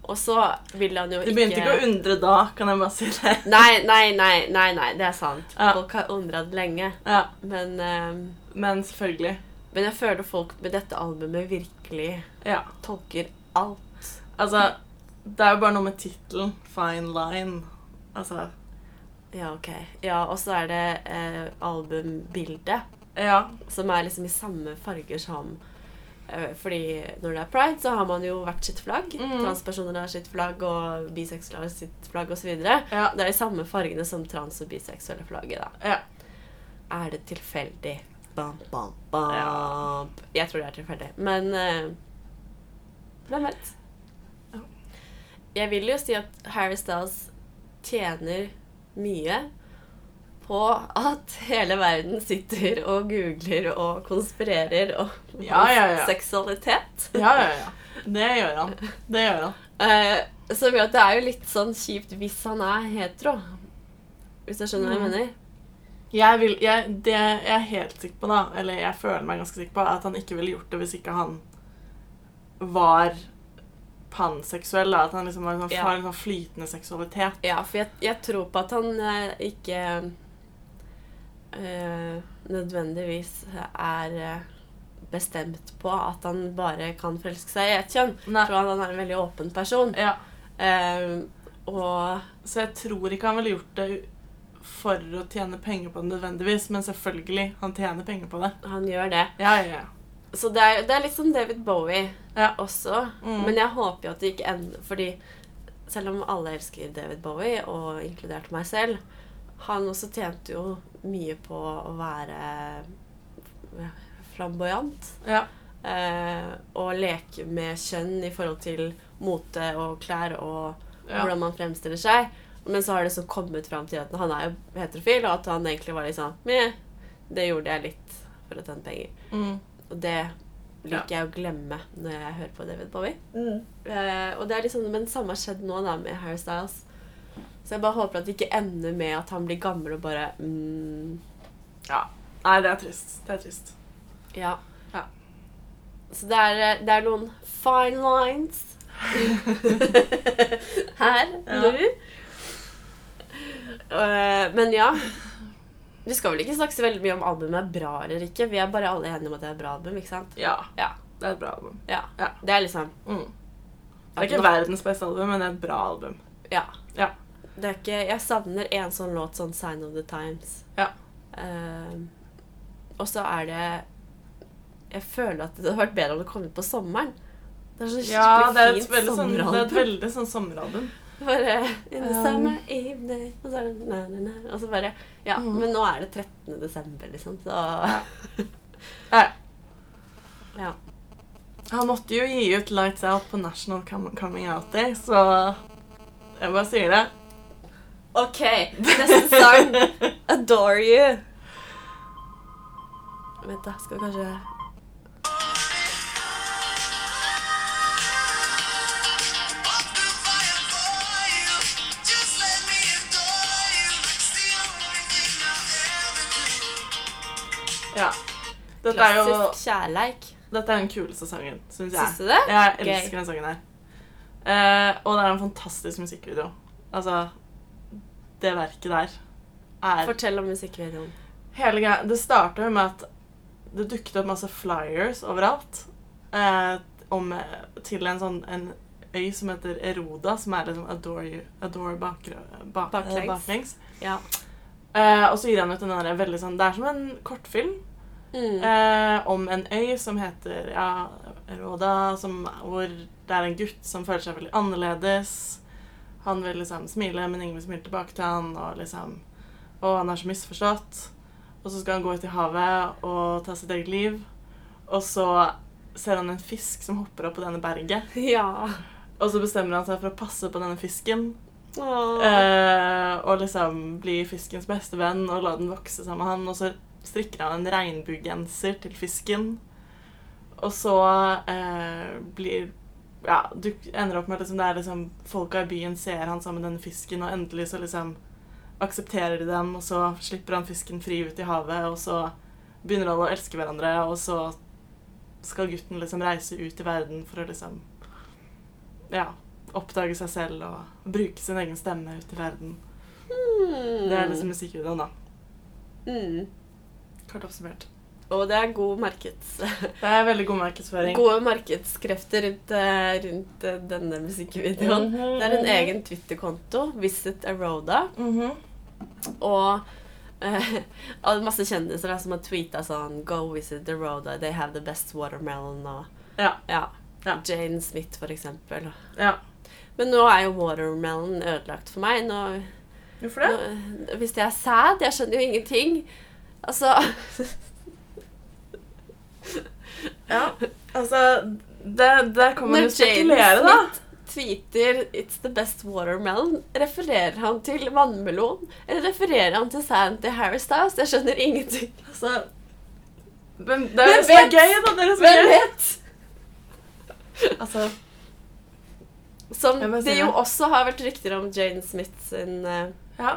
Speaker 2: Og så vil han jo
Speaker 1: De begynte ikke å undre da, kan jeg bare si det.
Speaker 2: Nei, nei, nei, nei, nei, det er sant.
Speaker 1: Ja.
Speaker 2: Folk har undret lenge.
Speaker 1: Ja,
Speaker 2: Men eh,
Speaker 1: men selvfølgelig.
Speaker 2: Men jeg føler folk med dette albumet virkelig
Speaker 1: Ja.
Speaker 2: tolker alt.
Speaker 1: Altså, det er jo bare noe med tittelen. Fine line. Altså,
Speaker 2: Ja, ok. Ja, og så er det eh, albumbildet,
Speaker 1: ja.
Speaker 2: som er liksom i samme farger som eh, fordi når det er pride, så har man jo hvert sitt flagg.
Speaker 1: Mm.
Speaker 2: Transpersoner har sitt flagg, og biseksuelle har sitt flagg, osv. Det
Speaker 1: Ja,
Speaker 2: er de samme fargene som trans- og biseksuelle flagget, da.
Speaker 1: ja.
Speaker 2: Er det tilfeldig? Bam, bam, bam.
Speaker 1: Ja.
Speaker 2: Jeg tror det er tilfeldig, men eh, Hvem vet?
Speaker 1: Ja.
Speaker 2: Jeg vil jo si at Harry Styles tjener mye på at hele verden sitter og googler og konspirerer om
Speaker 1: Ja, ja, ja.
Speaker 2: seksualitet.
Speaker 1: Ja, ja, ja. Det gjør han. Det gjør han.
Speaker 2: Eh, som gjør at det er jo litt sånn kjipt hvis han er hetero. Hvis du skjønner hva jeg mener?
Speaker 1: Jeg, vil, jeg, det jeg er helt sikker på, da, eller jeg føler meg ganske sikker på, er at han ikke ville gjort det hvis ikke han var panseksuell. Da. At han liksom var en sånn,
Speaker 2: Ja.
Speaker 1: har en sånn flytende seksualitet.
Speaker 2: Ja, for jeg, jeg tror på at han eh, ikke eh, nødvendigvis er eh, bestemt på at han bare kan forelske seg i ett kjønn.
Speaker 1: Nei.
Speaker 2: Jeg tror han er en veldig åpen person.
Speaker 1: Ja.
Speaker 2: Eh, og
Speaker 1: Så jeg tror ikke han ville gjort det for å tjene penger på det nødvendigvis, men selvfølgelig, han tjener penger på det.
Speaker 2: han gjør det.
Speaker 1: Ja, ja, ja.
Speaker 2: Så det er, det er litt som David Bowie
Speaker 1: Ja.
Speaker 2: også.
Speaker 1: Mm.
Speaker 2: Men jeg håper jo at det ikke ender Fordi selv om alle elsker David Bowie, og inkludert meg selv, han også tjente jo mye på å være flamboyant.
Speaker 1: Ja,
Speaker 2: Eh, og leke med kjønn i forhold til mote og klær og
Speaker 1: ja.
Speaker 2: hvordan man fremstiller seg. Men så har det liksom kommet fram til at han er jo heterofil, og at han egentlig var litt sånn Meh, det gjorde jeg litt for å tjene penger.
Speaker 1: Mm.
Speaker 2: Og det liker jeg å glemme når jeg hører på David Bowie. Eh, og det er liksom, men det samme har skjedd nå da med Harry Styles. Så jeg bare håper at det ikke ender med at han blir gammel og bare mm,
Speaker 1: ja. Nei, det er trist. Det er trist.
Speaker 2: ja.
Speaker 1: Ja.
Speaker 2: Så det er, eh, det er noen fine lines her
Speaker 1: Ja.
Speaker 2: nå. Eh, men ja. Vi skal vel ikke snakke så veldig mye om albumet er bra eller ikke. Vi er bare alle enige om at det er et bra album, ikke sant?
Speaker 1: Ja,
Speaker 2: Ja.
Speaker 1: det er et bra album.
Speaker 2: ja.
Speaker 1: Ja.
Speaker 2: Det er liksom
Speaker 1: Mm. Det er ikke verdens beste album, men det er et bra album.
Speaker 2: Ja.
Speaker 1: Ja.
Speaker 2: Det er ikke, jeg savner en sånn låt sånn Sign of the Times.
Speaker 1: Ja.
Speaker 2: Ehm, og så er det Jeg føler at det hadde vært bedre om det kom ut på sommeren. Det er så skikkelig
Speaker 1: Ja, det er et
Speaker 2: fint
Speaker 1: veldig sånn, det er et
Speaker 2: sommeralbum.
Speaker 1: veldig sånn sommeralbum.
Speaker 2: Bare In the
Speaker 1: Um.
Speaker 2: summer evening Og så er det na, na, na, Og så bare Ja,
Speaker 1: Mm.
Speaker 2: men nå er det 13. desember, liksom, så
Speaker 1: Eh,
Speaker 2: Ja.
Speaker 1: han måtte jo gi ut 'Lights Out' på National Com Coming Out Day, så jeg bare sier det.
Speaker 2: OK, neste sang. Adore You. Vent, da. Skal vi kanskje
Speaker 3: Just let me adore you. It's the only thing I'll ever
Speaker 1: Dette er jo
Speaker 2: Klassisk kjærleik.
Speaker 1: dette er den kuleste sangen, syns jeg.
Speaker 2: Syns du det?
Speaker 1: Jeg
Speaker 2: Gøy.
Speaker 1: elsker den sangen her. Eh, og det er en fantastisk musikkvideo. Altså Det verket der er
Speaker 2: Fortell om musikkvideoen.
Speaker 1: Hele greia Det starter jo med at det dukket opp masse flyers overalt eh, om, eh, til en sånn en øy som heter Eroda, som er liksom Adore, you- adore bakre, ba,
Speaker 2: Baklengs.
Speaker 1: baklengs. baklengs.
Speaker 2: Ja.
Speaker 1: Eh, og så gir han ut en der veldig sånn Det er som en kortfilm.
Speaker 2: Mm.
Speaker 1: Eh, om en øy som heter ja, Råda, som, hvor det er en gutt som føler seg veldig annerledes. Han vil liksom smile, men ingen vil smile tilbake til han, og liksom Og han er så misforstått. Og så skal han gå ut i havet og ta sitt eget liv. Og så ser han en fisk som hopper opp på denne berget,
Speaker 2: Ja.
Speaker 1: og så bestemmer han seg for å passe på denne fisken.
Speaker 2: Åh.
Speaker 1: Eh, og liksom bli fiskens beste venn og la den vokse sammen med han. Og så strikker han en regnbuegenser til fisken. Og så eh, blir Ja, du ender opp med at liksom, det er liksom folka i byen ser han sammen med denne fisken, og endelig så liksom aksepterer de dem, og så slipper han fisken fri ut i havet, og så begynner alle å elske hverandre, og så skal gutten liksom reise ut i verden for å liksom Ja, oppdage seg selv og bruke sin egen stemme ut i verden.
Speaker 2: Mm.
Speaker 1: Det er liksom musikkvideoen, da.
Speaker 2: mm.
Speaker 1: Kort oppsummert.
Speaker 2: Og det er god markeds...
Speaker 1: Det er veldig god markedsføring.
Speaker 2: Gode markedskrefter rundt, eh, rundt eh, denne musikkvideoen.
Speaker 1: Mhm,
Speaker 2: Det er en
Speaker 1: mhm.
Speaker 2: egen Twitter-konto, Visit Aroda,
Speaker 1: Mhm.
Speaker 2: og eh, og masse kjendiser da, som har tweeta sånn Go visit Aroda, they have the best watermelon og
Speaker 1: Ja.
Speaker 2: ja.
Speaker 1: Ja.
Speaker 2: Jane Smith, for eksempel.
Speaker 1: ja.
Speaker 2: Men nå er jo watermelon ødelagt for meg. Nå,
Speaker 1: Hvorfor
Speaker 2: nå,
Speaker 1: det?
Speaker 2: hvis jeg er sad, jeg skjønner jo ingenting. Altså
Speaker 1: Ja. Altså, det, der kan man
Speaker 2: Når
Speaker 1: jo
Speaker 2: Jaden
Speaker 1: spekulere, da.
Speaker 2: Smith tweeter 'It's the best watermelon', refererer han til vannmelon? Eller refererer han til Sandy Harry Styles? Jeg skjønner ingenting.
Speaker 1: Altså, men det
Speaker 2: Hvem
Speaker 1: er jo så
Speaker 2: vet?
Speaker 1: gøy, da. Det er så
Speaker 2: Hvem
Speaker 1: gøy.
Speaker 2: vet?
Speaker 1: Altså,
Speaker 2: Som
Speaker 1: Jeg bare
Speaker 2: det
Speaker 1: sier
Speaker 2: jo
Speaker 1: det.
Speaker 2: også har vært rykter om Jane Smith sin eh,
Speaker 1: ja.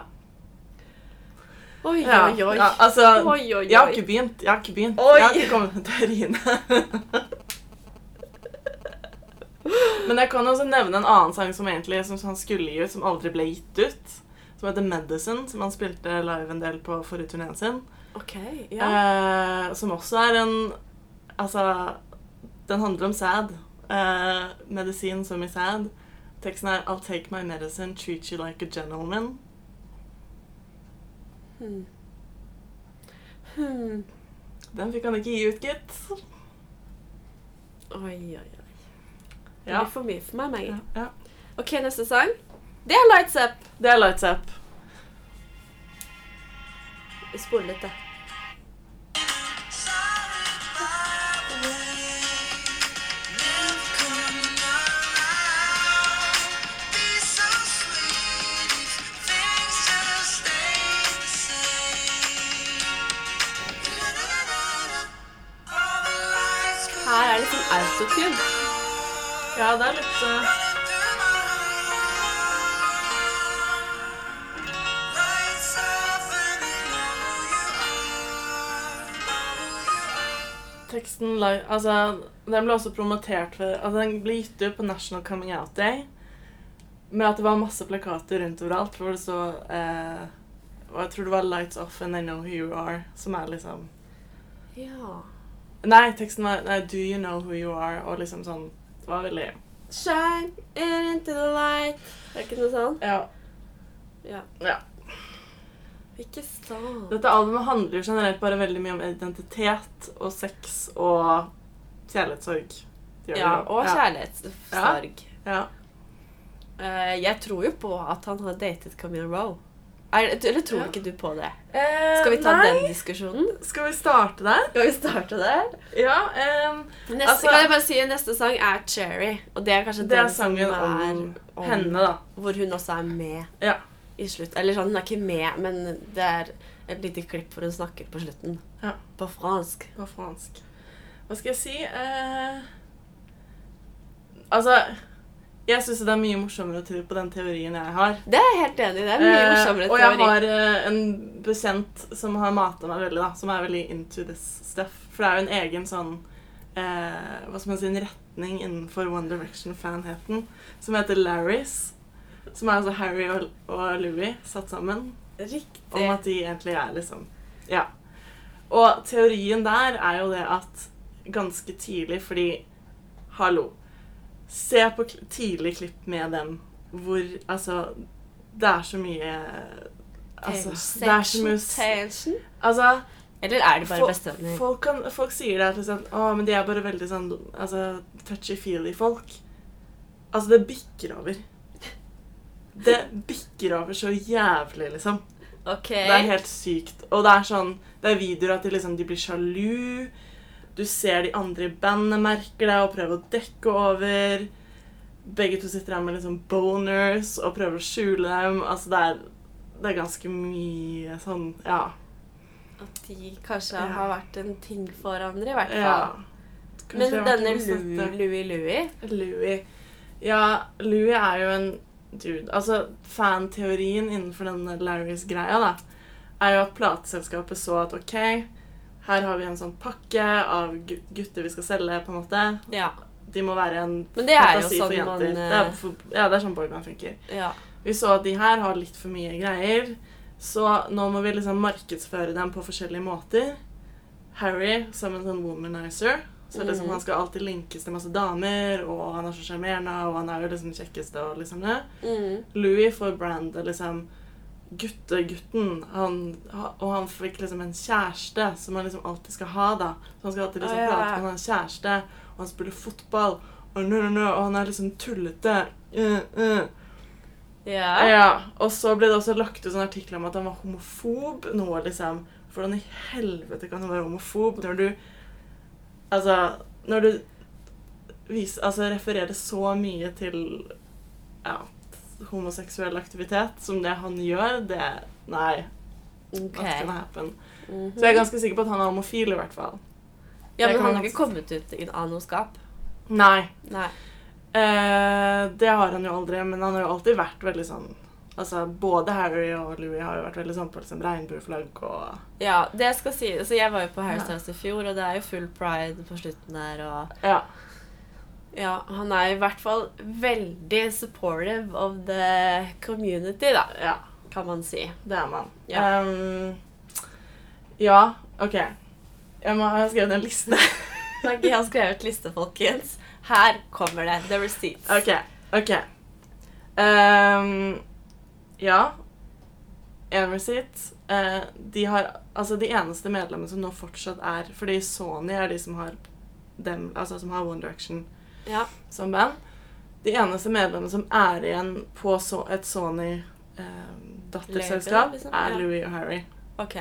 Speaker 2: Oi,
Speaker 1: ja.
Speaker 2: oi, oi.
Speaker 1: ja altså,
Speaker 2: Oi, oi,
Speaker 1: Jeg har
Speaker 2: oi.
Speaker 1: ikke begynt. Jeg har ikke begynt.
Speaker 2: Oi.
Speaker 1: Jeg har ikke kommet med teoriene. Men jeg kan også nevne en annen sang som egentlig som han skulle gi ut, som aldri ble gitt ut. Som heter 'Medicine', som han spilte live en del på forrige turneen sin.
Speaker 2: OK. Ja.
Speaker 1: Eh, som også er en Altså, den handler om sad. Eh, medisin som i sad. Teksten er 'I'll take my medicine, treat you like a gentleman'.
Speaker 2: Hmm. Hmm.
Speaker 1: Den fikk han ikke gi ut, gitt.
Speaker 2: Oi, oi, oi. Det
Speaker 1: Ja.
Speaker 2: blir for mye for meg,
Speaker 1: ja,
Speaker 2: Maggie.
Speaker 1: ja.
Speaker 2: OK, neste sang. Det er Lights Up.
Speaker 1: Det er lights up.
Speaker 2: Vi spoler litt, da. Her er det sånn autotune.
Speaker 1: Ja, det er litt eh, Teksten live, altså, den ble også promotert for, altså, Den ble gitt ut på National Coming Out Day. Med at det var masse plakater rundt overalt hvor det så eh, og Jeg tror det var 'Lights Off and I Know Who You Are', som er liksom
Speaker 2: Ja.
Speaker 1: Nei, teksten var nei, 'Do You Know Who You Are', og liksom sånn Det var veldig
Speaker 2: Shine it into the light. Er det ikke noe sånn?
Speaker 1: Ja.
Speaker 2: Ja.
Speaker 1: ja.
Speaker 2: Ikke sånn.
Speaker 1: Dette albumet handler jo generelt bare veldig mye om identitet og sex og kjærlighetssorg. Det gjør det
Speaker 2: Ja,
Speaker 1: jo.
Speaker 2: og kjærlighetssorg.
Speaker 1: Ja.
Speaker 2: Eh, jeg tror jo på at han har datet Camille Rowe. Er, det- eller tror
Speaker 1: Ja.
Speaker 2: ikke du på det?
Speaker 1: Eh,
Speaker 2: Skal vi ta
Speaker 1: nei.
Speaker 2: den diskusjonen?
Speaker 1: Skal vi starte der?
Speaker 2: Skal vi starte der?
Speaker 1: Ja. ehm,
Speaker 2: Neste,
Speaker 1: Altså-
Speaker 2: kan jeg bare si, neste sang er 'Cherry'. Og det er kanskje
Speaker 1: det er
Speaker 2: den som
Speaker 1: sangen
Speaker 2: er
Speaker 1: om,
Speaker 2: om-
Speaker 1: henne, da.
Speaker 2: Hvor hun også er med
Speaker 1: Ja.
Speaker 2: i slutt. Eller sånn, hun er ikke med, men det er et lite klipp hvor hun snakker på slutten.
Speaker 1: Ja.
Speaker 2: På fransk.
Speaker 1: På fransk. Hva skal jeg si? Eh, altså Jeg syns det er mye morsommere å tro på den teorien jeg har.
Speaker 2: Det er jeg helt enig i. Det er mye
Speaker 1: Eh,
Speaker 2: morsommere
Speaker 1: og jeg
Speaker 2: teori.
Speaker 1: har eh, en bekjent som har mata meg veldig, da, som er veldig into this stuff. For det er jo en egen sånn eh, Hva skal man si, en retning innenfor One Direction-fanheten som heter Larrys. Som er altså Harry og, og Louis satt sammen. Om
Speaker 2: Riktig.
Speaker 1: at de egentlig er liksom Ja. Og teorien der er jo det at ganske tidlig, fordi Hallo. Se på kl tidlig klipp med dem hvor Altså, det er så mye Altså, det er så mye s-
Speaker 2: Tension.
Speaker 1: Altså,
Speaker 2: Eller er det bare
Speaker 1: fo-
Speaker 2: bestevenner?
Speaker 1: folk, kan, folk sier det at liksom, Å, men de er bare veldig sånn altså, touchy-feely-folk. Altså, det bikker over. Det bikker over så jævlig, liksom.
Speaker 2: Ok.
Speaker 1: Det er helt sykt. Og det er sånn Det er videoer at de liksom De blir sjalu. Du ser de andre i bandet merker det og prøver å dekke over. Begge to sitter her med liksom boners og prøver å skjule dem. Altså det er Det er ganske mye sånn Ja.
Speaker 2: At de kanskje
Speaker 1: Ja.
Speaker 2: har vært en ting for hverandre, i hvert
Speaker 1: ja.
Speaker 2: fall.
Speaker 1: Kanskje
Speaker 2: Men
Speaker 1: det har vært
Speaker 2: denne
Speaker 1: noe sånt, ja.
Speaker 2: Louie-Louie
Speaker 1: Louis. Ja, Louis er jo en dude. Altså, fanteorien innenfor denne Larrys-greia, da, er jo at plateselskapet så at OK, her har vi en sånn pakke av gu- gutter vi skal selge, på en måte.
Speaker 2: Ja.
Speaker 1: De må være en
Speaker 2: Men det er jo
Speaker 1: fantasi for
Speaker 2: sånn man,
Speaker 1: jenter. det er for, ja, det er sånn boyband funker.
Speaker 2: ja.
Speaker 1: Vi så at de her har litt for mye greier, så nå må vi liksom markedsføre dem på forskjellige måter. Harry som en sånn womanizer. Så liksom
Speaker 2: Mhm.
Speaker 1: Han skal alltid linkes til masse damer, og han er så sjarmerende, og han er jo liksom den kjekkeste. og liksom det.
Speaker 2: Mm.
Speaker 1: Louis får brandet liksom guttegutten, han, ha- og han fikk liksom en kjæreste som han liksom alltid skal ha. da. Så Han skal alltid liksom
Speaker 2: Å, ja.
Speaker 1: prate med han har en kjæreste, og han spiller fotball, og, no, no, no, og han er liksom tullete. Uh, uh.
Speaker 2: ja.
Speaker 1: Ja, og så ble det også lagt ut sånn artikkel om at han var homofob. Noe liksom, Hvordan i helvete kan du være homofob når du Altså, når du viser, altså, refererer så mye til ja, homoseksuell aktivitet som det han gjør, det Nei.
Speaker 2: Ok.
Speaker 1: Not gonna happen.
Speaker 2: Mhm.
Speaker 1: Så jeg er ganske sikker på at han er homofil, i hvert fall.
Speaker 2: Ja,
Speaker 1: jeg
Speaker 2: men
Speaker 1: kan
Speaker 2: han har ikke
Speaker 1: godt-
Speaker 2: kommet ut i- av noe skap.
Speaker 1: Nei.
Speaker 2: Nei.
Speaker 1: Eh, det har han jo aldri, men han har jo alltid vært veldig sånn Altså, Både Harry og Louis har jo vært veldig sånn på liksom, regnbueflagg og
Speaker 2: Ja, det skal si. Altså, jeg var jo på
Speaker 1: Ja.
Speaker 2: Hairstyles i fjor, og det er jo full pride på slutten der. og...
Speaker 1: Ja.
Speaker 2: Ja, han er i hvert fall veldig supportive of the community, da,
Speaker 1: ja.
Speaker 2: kan man si.
Speaker 1: Det er man.
Speaker 2: Ja.
Speaker 1: Ehm, ja, OK. Jeg må ha skrevet en liste.
Speaker 2: Takk, jeg har skrevet liste, folkens. Her kommer det. The receipts.
Speaker 1: OK. ok. Ehm, ja. En receipt. Eh, de har Altså, de eneste medlemmene som nå fortsatt er Fordi Sony er de som har dem Altså som har One Direction
Speaker 2: Ja.
Speaker 1: som band. De eneste medlemmene som er igjen på så, et Sony-datterselskap,
Speaker 2: Label, liksom,
Speaker 1: er
Speaker 2: ja.
Speaker 1: Louis og Harry.
Speaker 2: OK.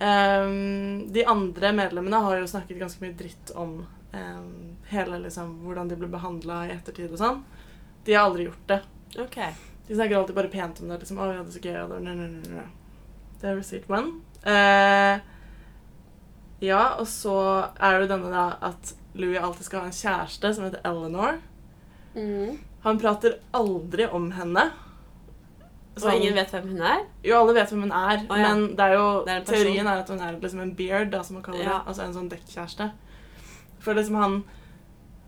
Speaker 1: Ehm, de andre medlemmene har jo snakket ganske mye dritt om ehm, hele liksom hvordan de ble behandla i ettertid og sånn. De har aldri gjort det.
Speaker 2: ok.
Speaker 1: De snakker alltid bare pent om det. liksom, «Å, vi hadde så gøy, og det var nø, nø, nø, nø». Det er receipt one. Eh, ja, og så er det jo denne da at Louis alltid skal ha en kjæreste som heter Eleanor.
Speaker 2: Mhm.
Speaker 1: Han prater aldri om henne.
Speaker 2: Og ingen vet hvem hun er?
Speaker 1: Jo, alle vet hvem hun
Speaker 2: Å,
Speaker 1: er,
Speaker 2: ja.
Speaker 1: men det er jo,
Speaker 2: Det er en person.
Speaker 1: teorien er at hun er liksom en beard, da, som man kaller
Speaker 2: Ja.
Speaker 1: det. Altså en sånn dekkjæreste. For liksom han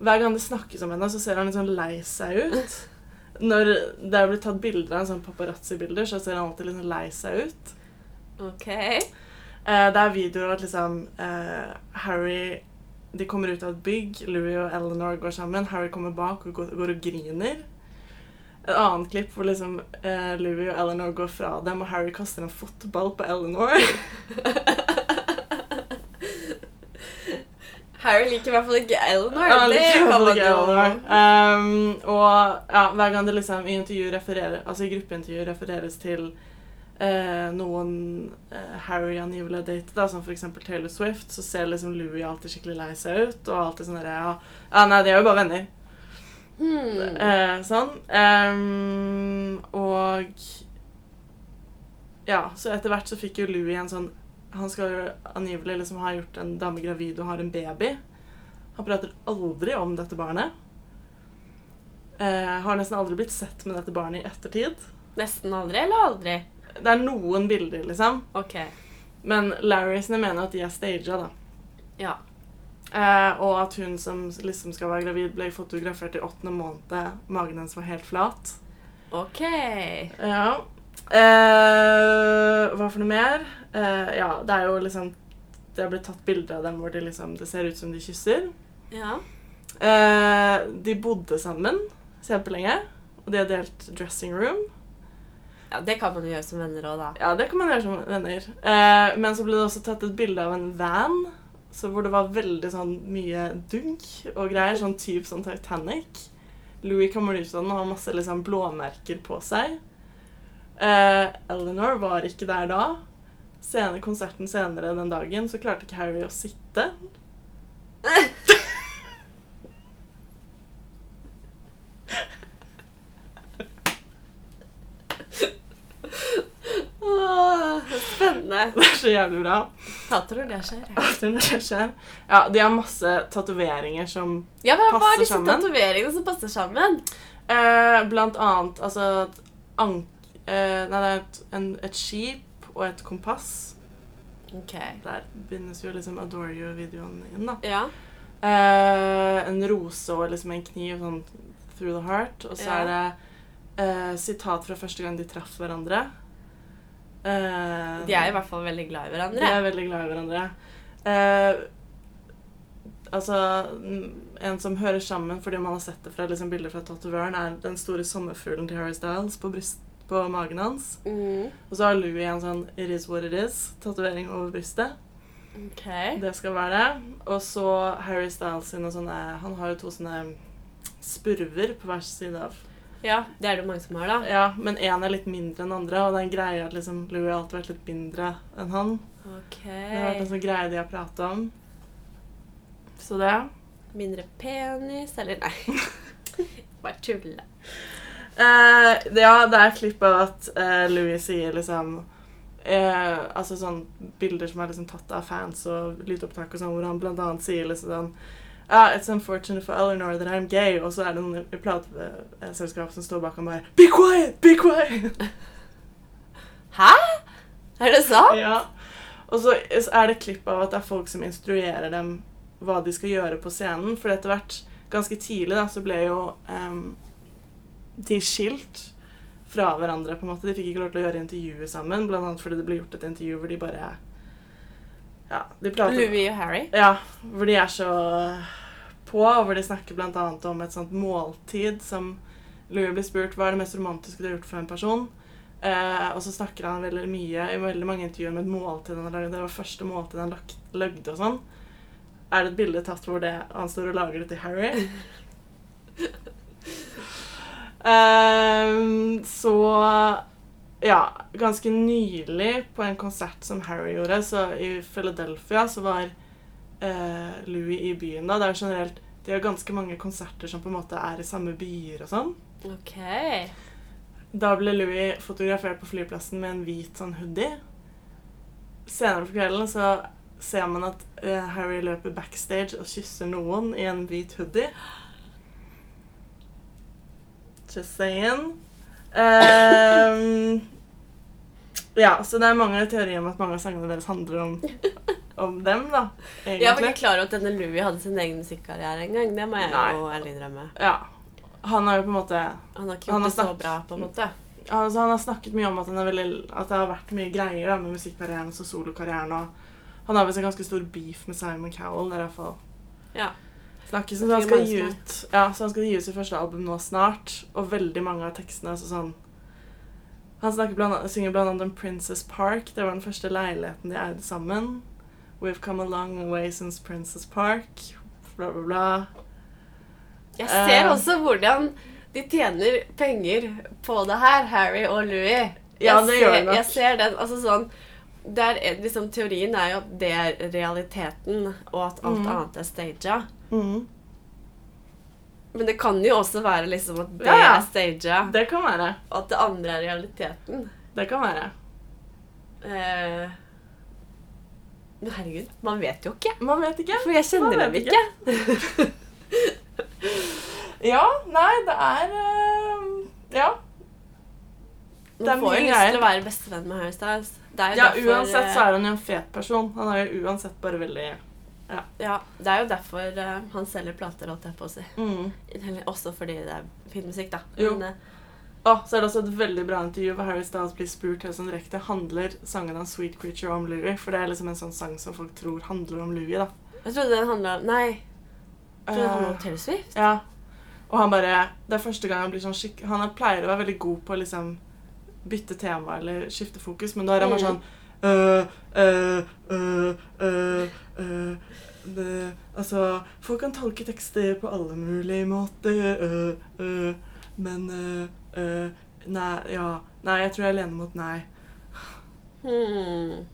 Speaker 1: Hver gang det snakkes om henne, så ser han litt sånn lei seg ut. Når det blir tatt bilder av en sånn paparazzi-bilder, så ser han alltid litt sånn lei seg ut.
Speaker 2: OK.
Speaker 1: Eh, det er videoer av at liksom eh, Harry De kommer ut av et bygg. Louis og Eleanor går sammen. Harry kommer bak og går, går og griner. Et annet klipp hvor liksom eh, Louis og Eleanor går fra dem, og Harry kaster en fotball på Eleanor.
Speaker 2: Harry liker i hvert fall ikke Eleanor.
Speaker 1: Ja,
Speaker 2: det
Speaker 1: litt
Speaker 2: kan man
Speaker 1: Trouble
Speaker 2: jo-
Speaker 1: Girl. Um, og ja, hver gang det liksom i intervju refererer, altså i gruppeintervju refereres til eh, noen eh, Harry angivelig har datet, da, som f.eks. Taylor Swift, så ser liksom Louis alltid skikkelig lei seg ut. Og alltid sånn der, ja, ja, nei, de er jo bare venner.
Speaker 2: Hmm.
Speaker 1: Eh, sånn. Ehm, og Ja, så etter hvert så fikk jo Louis en sånn Han skal jo angivelig liksom ha gjort en dame gravid og har en baby. Han prater aldri om dette barnet. Eh, har nesten aldri blitt sett med dette barnet i ettertid.
Speaker 2: Nesten aldri eller aldri?
Speaker 1: Det er noen bilder, liksom.
Speaker 2: Ok.
Speaker 1: Men Larry sine mener at de er staged, da.
Speaker 2: Ja.
Speaker 1: Eh, og at hun som liksom skal være gravid, ble fotografert i åttende måned. Magen hennes var helt flat.
Speaker 2: Ok.
Speaker 1: Ja. Eh, hva for noe mer? Eh, ja, det er jo liksom Det blir tatt bilder av dem hvor de liksom, det ser ut som de kysser.
Speaker 2: Ja.
Speaker 1: Eh, de bodde sammen kjempelenge. Og de har delt dressing room.
Speaker 2: ja. Det kan man jo gjøre som venner òg, da.
Speaker 1: Ja, det kan man gjøre som venner. Eh, men så ble det også tatt et bilde av en van. Så hvor det var veldig sånn mye dunk og greier. Sånn typ sånn Titanic. Louis kommer ut av den og har masse liksom blåmerker på seg. Eh, Eleanor var ikke der da. Senere, konserten senere den dagen så klarte ikke Harry å sitte.
Speaker 2: Åh, spennende.
Speaker 1: Det er så jævlig bra.
Speaker 2: Hater når det skjer. jeg.
Speaker 1: at det skjer. Ja, de har masse tatoveringer som
Speaker 2: Ja, men hva
Speaker 1: Passer
Speaker 2: er disse
Speaker 1: sammen.
Speaker 2: tatoveringene som passer sammen?
Speaker 1: Eh, blant annet altså et ank... Eh, nei, det er et, en, et skip og et kompass.
Speaker 2: Ok.
Speaker 1: Der bindes jo liksom Adore You-videoen inn, da.
Speaker 2: Ja.
Speaker 1: Eh, en rose og liksom en kniv sånn through the heart. Og så
Speaker 2: Ja.
Speaker 1: er det eh, sitat fra første gang de traff hverandre. Eh,
Speaker 2: De er i hvert fall veldig glad i
Speaker 1: de
Speaker 2: hverandre.
Speaker 1: er veldig glad i hverandre. Eh, altså n- En som hører sammen fordi man har sett det fra liksom, bilder fra tatovøren, er den store sommerfuglen til Harry Styles på, bryst, på magen hans.
Speaker 2: Mm.
Speaker 1: Og så har Louis en sånn 'It is what it is'-tatovering over brystet.
Speaker 2: Ok.
Speaker 1: Det skal være det. Og så Harry Styles sine sånne Han har jo to sånne mm, spurver på hver side av
Speaker 2: Ja, det er det mange som har, da.
Speaker 1: Ja, men én er litt mindre enn andre, og den greia at liksom Louis har alltid vært litt mindre enn han.
Speaker 2: Ok.
Speaker 1: Det har vært en sånn greie de har prata om. Så det.
Speaker 2: Mindre penis, eller nei. Bare tulle.
Speaker 1: Eh, det- ja, det er klipp av at eh, Louis sier liksom eh, Altså sånn bilder som er liksom tatt av fans og lydopptak og sånn, hvor han blant annet sier liksom sånn ah, It's unfortunate for Eleanor that I'm gay. Og så er det noen i plateselskap som står bak ham bare Be quiet! Be quiet!
Speaker 2: Hæ? Er det sant?
Speaker 1: ja. Og så er det klipp av at det er folk som instruerer dem hva de skal gjøre på scenen. For etter hvert, ganske tidlig, da, så ble jo ehm, de skilt fra hverandre. på en måte. De fikk ikke lov til å gjøre intervjuet sammen, bl.a. fordi det ble gjort et intervju hvor de bare Ja, de prater
Speaker 2: Louis og Harry?
Speaker 1: Ja, hvor de er så på, og hvor de snakker bl.a. om et sånt måltid som Louis blir spurt hva er det mest romantiske du har gjort for en person. Eh, og så snakker han veldig mye i veldig mange intervjuer om et måltid han har lagd. Det var første måltid han lagt, lagde og sånn. Er det et bilde tatt hvor det, han står og lager det til Harry? Ehm, så ja, ganske nylig på en konsert som Harry gjorde, så i Philadelphia, så var eh, Louis i byen da. Det er jo generelt De har ganske mange konserter som på en måte er i samme byer og sånn.
Speaker 2: Ok.
Speaker 1: Da ble Louis fotografert på flyplassen med en hvit sånn hoodie. Senere på kvelden så ser man at eh, Harry løper backstage og kysser noen i en hvit hoodie. Just saying. Ehm, ja, så det er mange teorier om at mange av sangene deres handler om, om dem, da.
Speaker 2: Jeg var ikke klar over at denne Louis hadde sin egen musikkarriere engang. Det må jeg
Speaker 1: Nei.
Speaker 2: jo ærlig innrømme.
Speaker 1: Ja. Han har jo på en måte
Speaker 2: Han har ikke gjort
Speaker 1: Han har
Speaker 2: det så
Speaker 1: snakket-
Speaker 2: bra, på en måte.
Speaker 1: altså Han har snakket mye om at, han er veldig, at det har vært mye greier da, med musikkarrieren og solokarrieren. Og han har visst en ganske stor beef med Simon Cowell. Det er i hvert fall
Speaker 2: Ja.
Speaker 1: snakkes
Speaker 2: Det
Speaker 1: om. Så han
Speaker 2: tror
Speaker 1: skal
Speaker 2: jeg
Speaker 1: gi
Speaker 2: mange
Speaker 1: ut ja, så han skal gi ut sitt første album nå snart, og veldig mange av tekstene er så sånn Han snakker blant, annet- synger blant annet om Princess Park. Det var den første leiligheten de eide sammen. We've come a long way since Princess Park. Bla, bla, bla.
Speaker 2: Jeg ser
Speaker 1: Eh.
Speaker 2: også hvordan de tjener penger på det her, Harry og Louis.
Speaker 1: Ja,
Speaker 2: Jeg
Speaker 1: det
Speaker 2: ser,
Speaker 1: gjør det nok.
Speaker 2: Jeg ser den, altså sånn det er en- liksom, Teorien er jo at det er realiteten, og at alt
Speaker 1: Mm.
Speaker 2: annet er staged.
Speaker 1: Mhm.
Speaker 2: Mm. Men det kan jo også være liksom at det
Speaker 1: Ja, ja.
Speaker 2: er staged,
Speaker 1: Det kan være.
Speaker 2: og at det andre er realiteten.
Speaker 1: Det kan være.
Speaker 2: Eh, men herregud, man vet jo ikke.
Speaker 1: Man vet ikke.
Speaker 2: For jeg kjenner dem
Speaker 1: Man vet
Speaker 2: ikke.
Speaker 1: Ja, nei, det er eh, Ja. Det er
Speaker 2: Man får jo
Speaker 1: mye
Speaker 2: lyst til
Speaker 1: greier.
Speaker 2: å være bestevenn med Harry Styles. Det er jo
Speaker 1: ja
Speaker 2: derfor,
Speaker 1: uansett så
Speaker 2: eh,
Speaker 1: er han jo en fet person. Han er jo uansett bare veldig
Speaker 2: ja, det er jo derfor eh, han selger plater, holdt jeg på å si.
Speaker 1: mm.
Speaker 2: Eller også fordi det er fin musikk, da.
Speaker 1: Jo.
Speaker 2: Men, eh,
Speaker 1: Å, så er det også et veldig bra intervju hvor Harry Styles blir spurt helt sånn direkte handler sangen hans 'Sweet Creature' om Louie. For det er liksom en sånn sang som folk tror handler om Louie, da.
Speaker 2: jeg trodde den handla om Nei, jeg trodde den handla om
Speaker 1: Eh,
Speaker 2: Taylor Swift.
Speaker 1: ja. Og han bare Det er første gang han blir sånn skikk... Han er- pleier å være veldig god på å liksom bytte tema eller skifte fokus, men da er han bare sånn øh, øh, øh, øh, øh, det, altså, folk kan tolke tekster på alle mulige måter, øh, øh, men øh, øh, Nei, ja. Nei, jeg tror jeg lener mot nei.
Speaker 2: Hmm.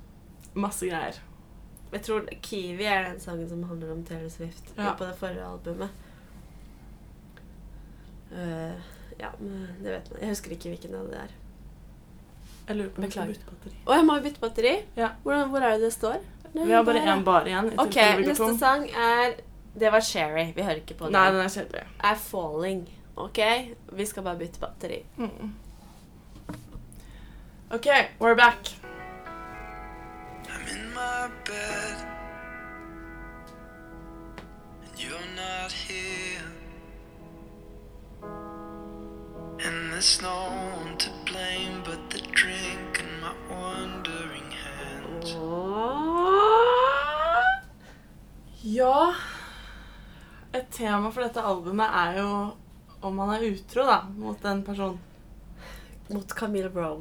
Speaker 1: Masse greier.
Speaker 2: Jeg tror Kiwi er den sangen som handler om Taylor Swift
Speaker 1: Ja.
Speaker 2: på det forrige albumet. Eh, ja, men det vet man. Jeg husker ikke hvilken av det er.
Speaker 1: Jeg lurer på om vi
Speaker 2: Beklager.
Speaker 1: skal bytte batteri.
Speaker 2: Å, jeg må jo bytte batteri.
Speaker 1: Ja.
Speaker 2: Hvordan, hvor er det det står? Nei,
Speaker 1: Vi har bare
Speaker 2: der, ja.
Speaker 1: én bar igjen. i
Speaker 2: Ok,
Speaker 1: tilfelle vi går
Speaker 2: neste
Speaker 1: tom.
Speaker 2: sang er Det var Sherry. Vi hører ikke på
Speaker 1: Nei,
Speaker 2: den.
Speaker 1: den er kjedelig.
Speaker 2: Er Falling. Ok, vi skal bare bytte batteri.
Speaker 1: Mm. OK, we're back.
Speaker 3: I'm in my bed. And you're not here. And there's no one to blame but the drink and my wandering hands.
Speaker 1: Ja Et tema for dette albumet er jo om man er utro da, mot en person.
Speaker 2: Mot Camille Brow.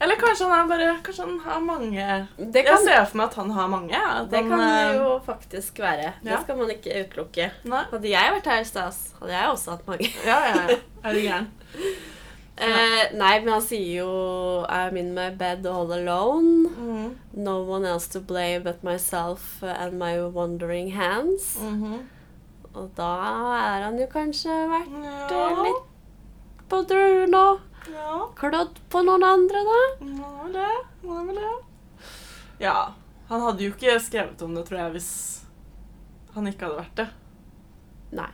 Speaker 1: Eller kanskje han er bare Kanskje han har mange
Speaker 2: Det
Speaker 1: Jeg
Speaker 2: kan,
Speaker 1: ser for meg at han har mange. At
Speaker 2: det
Speaker 1: han,
Speaker 2: kan
Speaker 1: eh,
Speaker 2: det jo faktisk være. Det
Speaker 1: ja.
Speaker 2: skal man ikke utelukke.
Speaker 1: Nei.
Speaker 2: Hadde jeg vært her i stas, hadde jeg også hatt mange.
Speaker 1: Ja, ja, ja. Er du gæren?
Speaker 2: Eh, nei, men han sier jo I'm in my bed all alone.
Speaker 1: Mhm,
Speaker 2: No one else to blame but myself and my wandering hands.
Speaker 1: mhm.
Speaker 2: Og da er han jo kanskje vært eh,
Speaker 1: Ja.
Speaker 2: litt på druen og
Speaker 1: Ja,
Speaker 2: klødd på noen andre, da.
Speaker 1: han er vel det. Han er vel det. Ja. Han hadde jo ikke skrevet om det, tror jeg, hvis han ikke hadde vært det.
Speaker 2: Nei.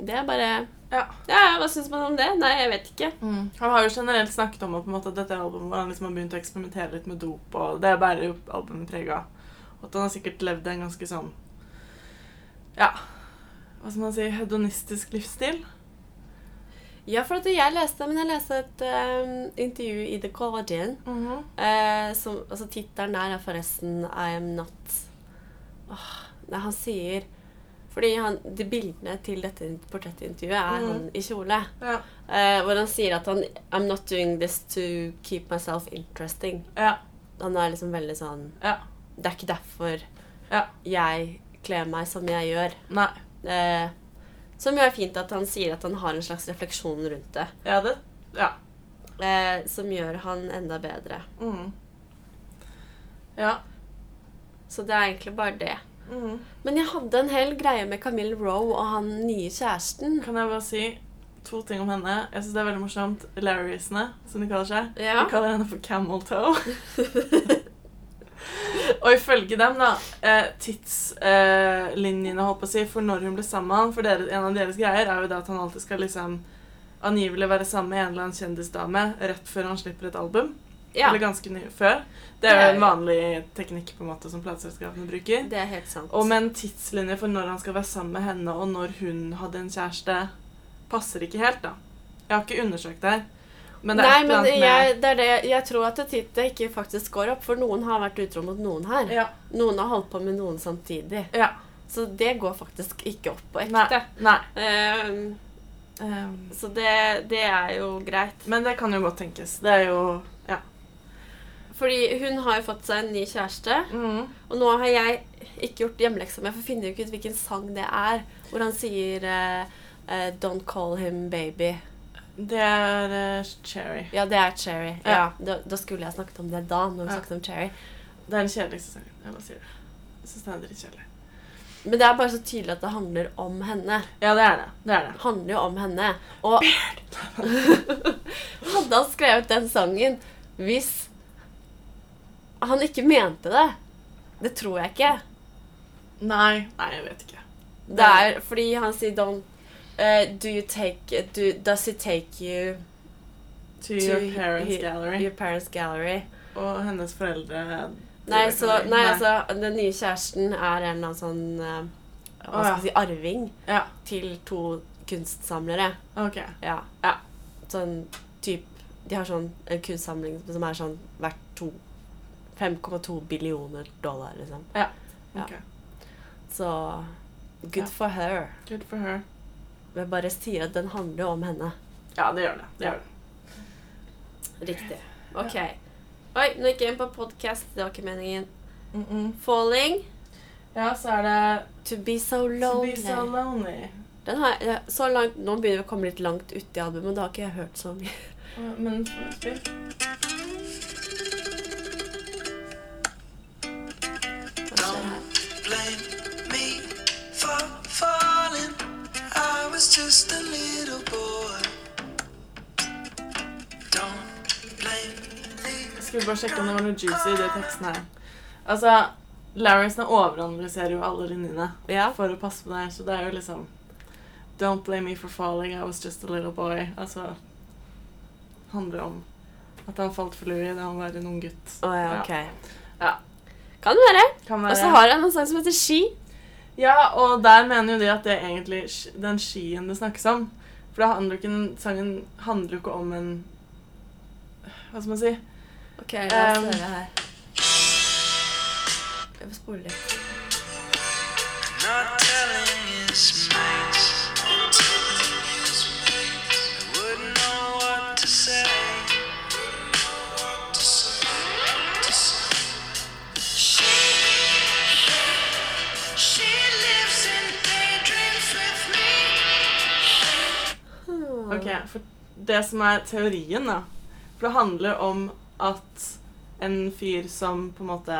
Speaker 2: Det er bare
Speaker 1: Ja.
Speaker 2: Ja, ja, hva syns man om det? Nei, jeg vet ikke.
Speaker 1: Han har jo generelt snakket om at, på en måte, at dette albumet hvor han liksom har begynt å eksperimentere litt med dop, og det bærer jo albumet preg av. Og At han har sikkert levd en ganske sånn Ja, hva skal man si hedonistisk livsstil.
Speaker 2: Ja, for at jeg leste Men jeg leste et eh, intervju i The Guardian. Eh, som, altså Tittelen der er forresten I am not Åh, Nei, han sier Fordi han, de bildene til dette portrettintervjuet er
Speaker 1: Mhm.
Speaker 2: han i kjole.
Speaker 1: Ja.
Speaker 2: Eh, hvor han sier at han I'm not doing this to keep myself interesting.
Speaker 1: Ja.
Speaker 2: Han er liksom veldig sånn
Speaker 1: Ja.
Speaker 2: Det er ikke derfor
Speaker 1: Ja.
Speaker 2: jeg kler meg som jeg gjør.
Speaker 1: Nei.
Speaker 2: Eh, som jo er fint at han sier at han har en slags refleksjon rundt det.
Speaker 1: Ja, det Ja.
Speaker 2: Eh, som gjør han enda bedre.
Speaker 1: Mhm. Ja.
Speaker 2: Så det er egentlig bare det.
Speaker 1: Mhm.
Speaker 2: Men jeg hadde en hel greie med Camille Rowe og han nye kjæresten.
Speaker 1: Kan jeg bare si to ting om henne? Jeg syns det er veldig morsomt. Larrysene, som de kaller seg.
Speaker 2: Ja.
Speaker 1: De kaller henne for Camel Toe. Og ifølge dem, da, eh, tidslinjene, eh, linjene, holdt på å si, for når hun ble sammen med han For dere, en av deres greier er jo det at han alltid skal liksom angivelig være sammen med en eller annen kjendisdame rett før han slipper et album.
Speaker 2: ja,
Speaker 1: Eller ganske ny før.
Speaker 2: Det
Speaker 1: Det er
Speaker 2: er
Speaker 1: jo en vanlig teknikk på en måte som plateselskapene bruker.
Speaker 2: det er helt sant.
Speaker 1: Og med en tidslinje for når han skal være sammen med henne, og når hun hadde en kjæreste, passer ikke helt, da. Jeg har ikke undersøkt det her. Men det er
Speaker 2: Nei,
Speaker 1: et eller
Speaker 2: men
Speaker 1: annet med
Speaker 2: jeg, det er det, jeg tror at det titt- det ikke faktisk går opp, for noen har vært utro mot noen her.
Speaker 1: Ja.
Speaker 2: Noen har holdt på med noen samtidig.
Speaker 1: ja.
Speaker 2: Så det går faktisk ikke opp på
Speaker 1: Nei.
Speaker 2: ekte.
Speaker 1: Nei.
Speaker 2: Ehm,
Speaker 1: Ehm,
Speaker 2: så det, det er jo greit.
Speaker 1: men det kan jo godt tenkes. Det er jo Ja.
Speaker 2: Fordi hun har jo fått seg en ny kjæreste,
Speaker 1: Mhm.
Speaker 2: og nå har jeg ikke gjort hjemmeleksa mi, for jeg finner jo ikke ut hvilken sang det er, hvor han sier eh, eh, Don't call him baby.
Speaker 1: Det er eh, Cherry.
Speaker 2: Ja, det er Cherry.
Speaker 1: Ja.
Speaker 2: Ja. Da, da skulle jeg snakket om det da. når vi
Speaker 1: Ja.
Speaker 2: snakket om Cherry.
Speaker 1: Det er den kjedeligste sangen. Jeg bare sier det. Jeg syns den er drittkjedelig.
Speaker 2: Men det er bare så tydelig at det handler om henne.
Speaker 1: Ja, det er det. Det er det.
Speaker 2: Det handler jo om henne. Og hadde han skrevet den sangen hvis han ikke mente det? Det tror jeg ikke.
Speaker 1: Nei, nei, jeg vet ikke.
Speaker 2: Det er fordi han sier don't eh, Do you take do, Does it take you to
Speaker 1: To your parents'
Speaker 2: he-
Speaker 1: gallery.
Speaker 2: Your parents gallery.
Speaker 1: Og hennes foreldre
Speaker 2: Nei, så, nei, altså, den nye kjæresten er en eller annen sånn eh, Hva
Speaker 1: Å,
Speaker 2: skal
Speaker 1: ja.
Speaker 2: jeg si Arving
Speaker 1: Ja,
Speaker 2: til to kunstsamlere.
Speaker 1: ok.
Speaker 2: Ja. ja. Sånn type De har sånn en kunstsamling som er sånn verdt to 5,2 billioner dollar, liksom. Ja.
Speaker 1: ok.
Speaker 2: Så good
Speaker 1: Ja.
Speaker 2: for her.
Speaker 1: Good for her.
Speaker 2: Men jeg bare sier at den handler jo om henne.
Speaker 1: Ja, det gjør det. det,
Speaker 2: Ja.
Speaker 1: gjør det.
Speaker 2: Riktig. Ok. Oi, nå gikk jeg inn på podkast. Det var ikke meningen.
Speaker 1: Mm -mm.
Speaker 2: Falling.
Speaker 1: Ja, så er det
Speaker 2: To be so
Speaker 1: To
Speaker 2: lonely.
Speaker 1: be so lonely.
Speaker 2: Den har jeg, så langt, nå begynner vi å komme litt langt ut i albumet. Da har ikke jeg hørt så mye.
Speaker 1: Men spill.
Speaker 2: Hva skjer her?
Speaker 3: Blame me for falling. I was just a little boy. Don't blame the
Speaker 1: Skal vi bare sjekke om det var noe juicy i de tekstene her. Altså, Larrison overanalyserer jo alle linjene
Speaker 2: Ja.
Speaker 1: for å passe på det her, så det er jo liksom Don't blame me for falling, I was just a little boy. Altså Handler om at han falt for Louie da han var en ung gutt.
Speaker 2: Å ja, ok.
Speaker 1: Ja.
Speaker 2: Kan være.
Speaker 1: Kan
Speaker 2: Og
Speaker 1: være.
Speaker 2: så har jeg en sang som heter Ski.
Speaker 1: Ja, og der mener jo de at det er egentlig sk- den skien det snakkes om. For da handler jo ikke den sangen handler jo ikke om en Hva skal man si?
Speaker 2: Ok, la oss
Speaker 1: Um.
Speaker 2: høre her. Jeg må spole litt.
Speaker 3: not telling his mates. Wouldn't know what to say. She, she lives in daydreams with me.
Speaker 1: Ok, for det som er teorien da For det handler om at en fyr som på en måte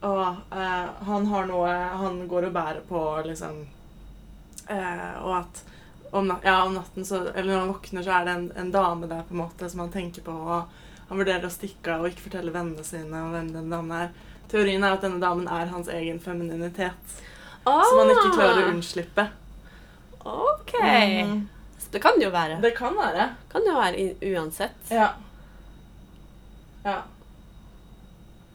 Speaker 1: Å, eh, han har noe han går og bærer på, liksom eh, Og at om, na- ja, om natten, så, eller når han våkner, så er det en, en dame der på en måte som han tenker på Og han vurderer å stikke av og ikke fortelle vennene sine om hvem den damen er Teorien er at denne damen er hans egen femininitet Som han ikke klarer å unnslippe
Speaker 2: Ah. Ok.
Speaker 1: Mhm.
Speaker 2: Så Det kan det jo være.
Speaker 1: Det kan være
Speaker 2: kan jo være i- uansett.
Speaker 1: Ja. Ja.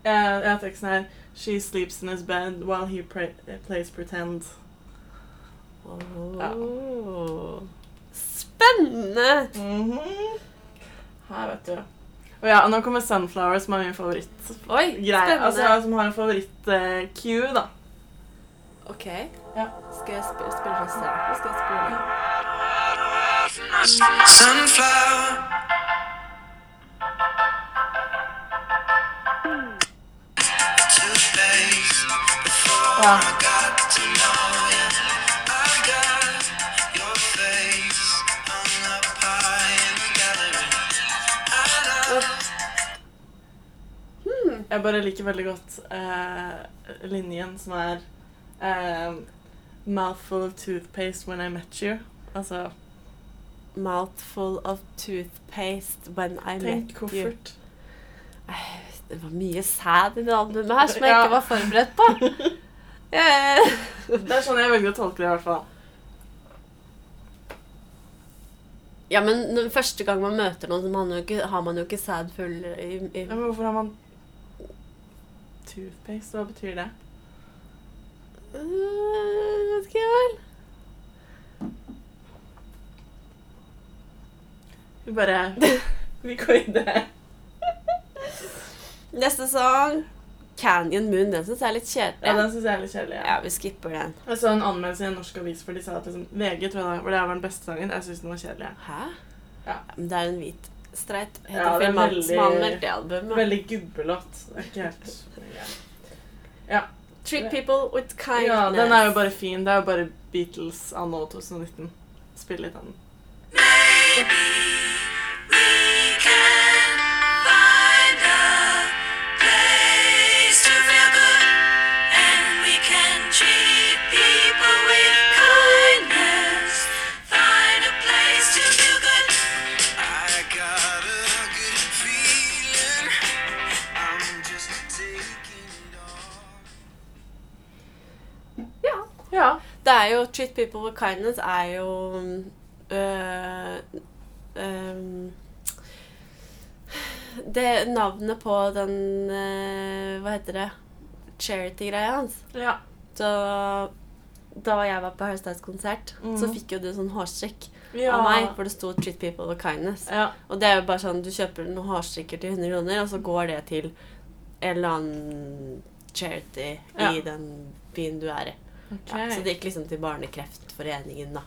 Speaker 1: Jeg, jeg har teksten her She sleeps in his bed while he pre plays pretend. Ja.
Speaker 2: Åh. Spennende! Mm-hmm.
Speaker 1: Mhm. Her, vet du. Og ja, nå kommer Sunflower, som er min favorittgreie.
Speaker 2: Oi, spennende.
Speaker 1: Altså, som har en favoritt-cue, da.
Speaker 2: ok.
Speaker 1: Ja.
Speaker 2: Skal jeg spille, spille fra starten? Skal jeg spille?
Speaker 3: Sunflower. Two days before
Speaker 1: Ja.
Speaker 3: I got to know you. I got your face hung up high in the gallery. I love
Speaker 2: Hmm.
Speaker 1: Jeg bare liker veldig godt eh, linjen som er eh, Mouthful of toothpaste when I met you. Altså
Speaker 2: Mouthful of toothpaste when I
Speaker 1: Tenk
Speaker 2: met you.
Speaker 1: koffert.
Speaker 2: Det var mye sæd i det albumet her som jeg
Speaker 1: Ja.
Speaker 2: ikke var forberedt på. Eh,
Speaker 1: Det er sånn jeg velger å tolke det, i hvert fall.
Speaker 2: ja, men når- første gang man møter noen, så har man jo ikke, har man jo ikke sæd full i, i
Speaker 1: Ja, men hvorfor har man Toothpaste, hva betyr det?
Speaker 2: Eh, Vet ikke jeg vel.
Speaker 1: Vi bare Vi går i det.
Speaker 2: Neste sang Canyon Moon. Den syns jeg er litt kjedelig.
Speaker 1: Ja, den syns jeg er litt kjedelig. Ja.
Speaker 2: Ja, vi skipper den.
Speaker 1: Jeg så en anmeldelse i en norsk avis hvor de sa at liksom, VG tror jeg det var, hvor det her var den beste sangen. Jeg syns den var kjedelig.
Speaker 2: Hæ?
Speaker 1: Ja.
Speaker 2: Men det er en hvit streit
Speaker 1: Ja, det er
Speaker 2: heterofil mann som
Speaker 1: veldig-
Speaker 2: har meldt det albumet.
Speaker 1: Veldig gubbelåt. Det er ikke helt
Speaker 2: Treat people with kindness.
Speaker 1: Ja, den er jo bare fin. Det er jo bare Beatles anno 2019. Spill litt av den.
Speaker 3: Taking it all.
Speaker 2: Det er jo Treat people with kindness er jo øh, øhm, Det navnet på den øh, Hva heter det? Charity-greia hans.
Speaker 1: Ja.
Speaker 2: Så da jeg var på Harsteids-konsert, så
Speaker 1: Mhm.
Speaker 2: fikk jo du sånn hårstrikk
Speaker 1: ja.
Speaker 2: av meg hvor det sto 'Treat people with kindness'.
Speaker 1: Ja.
Speaker 2: Og det er jo bare sånn, du kjøper noen hårstrikker til 100 kroner, og så går det til en eller annen charity
Speaker 1: Ja.
Speaker 2: i den byen du er i.
Speaker 1: Ok.
Speaker 2: Ja, så det gikk liksom til Barnekreftforeningen da,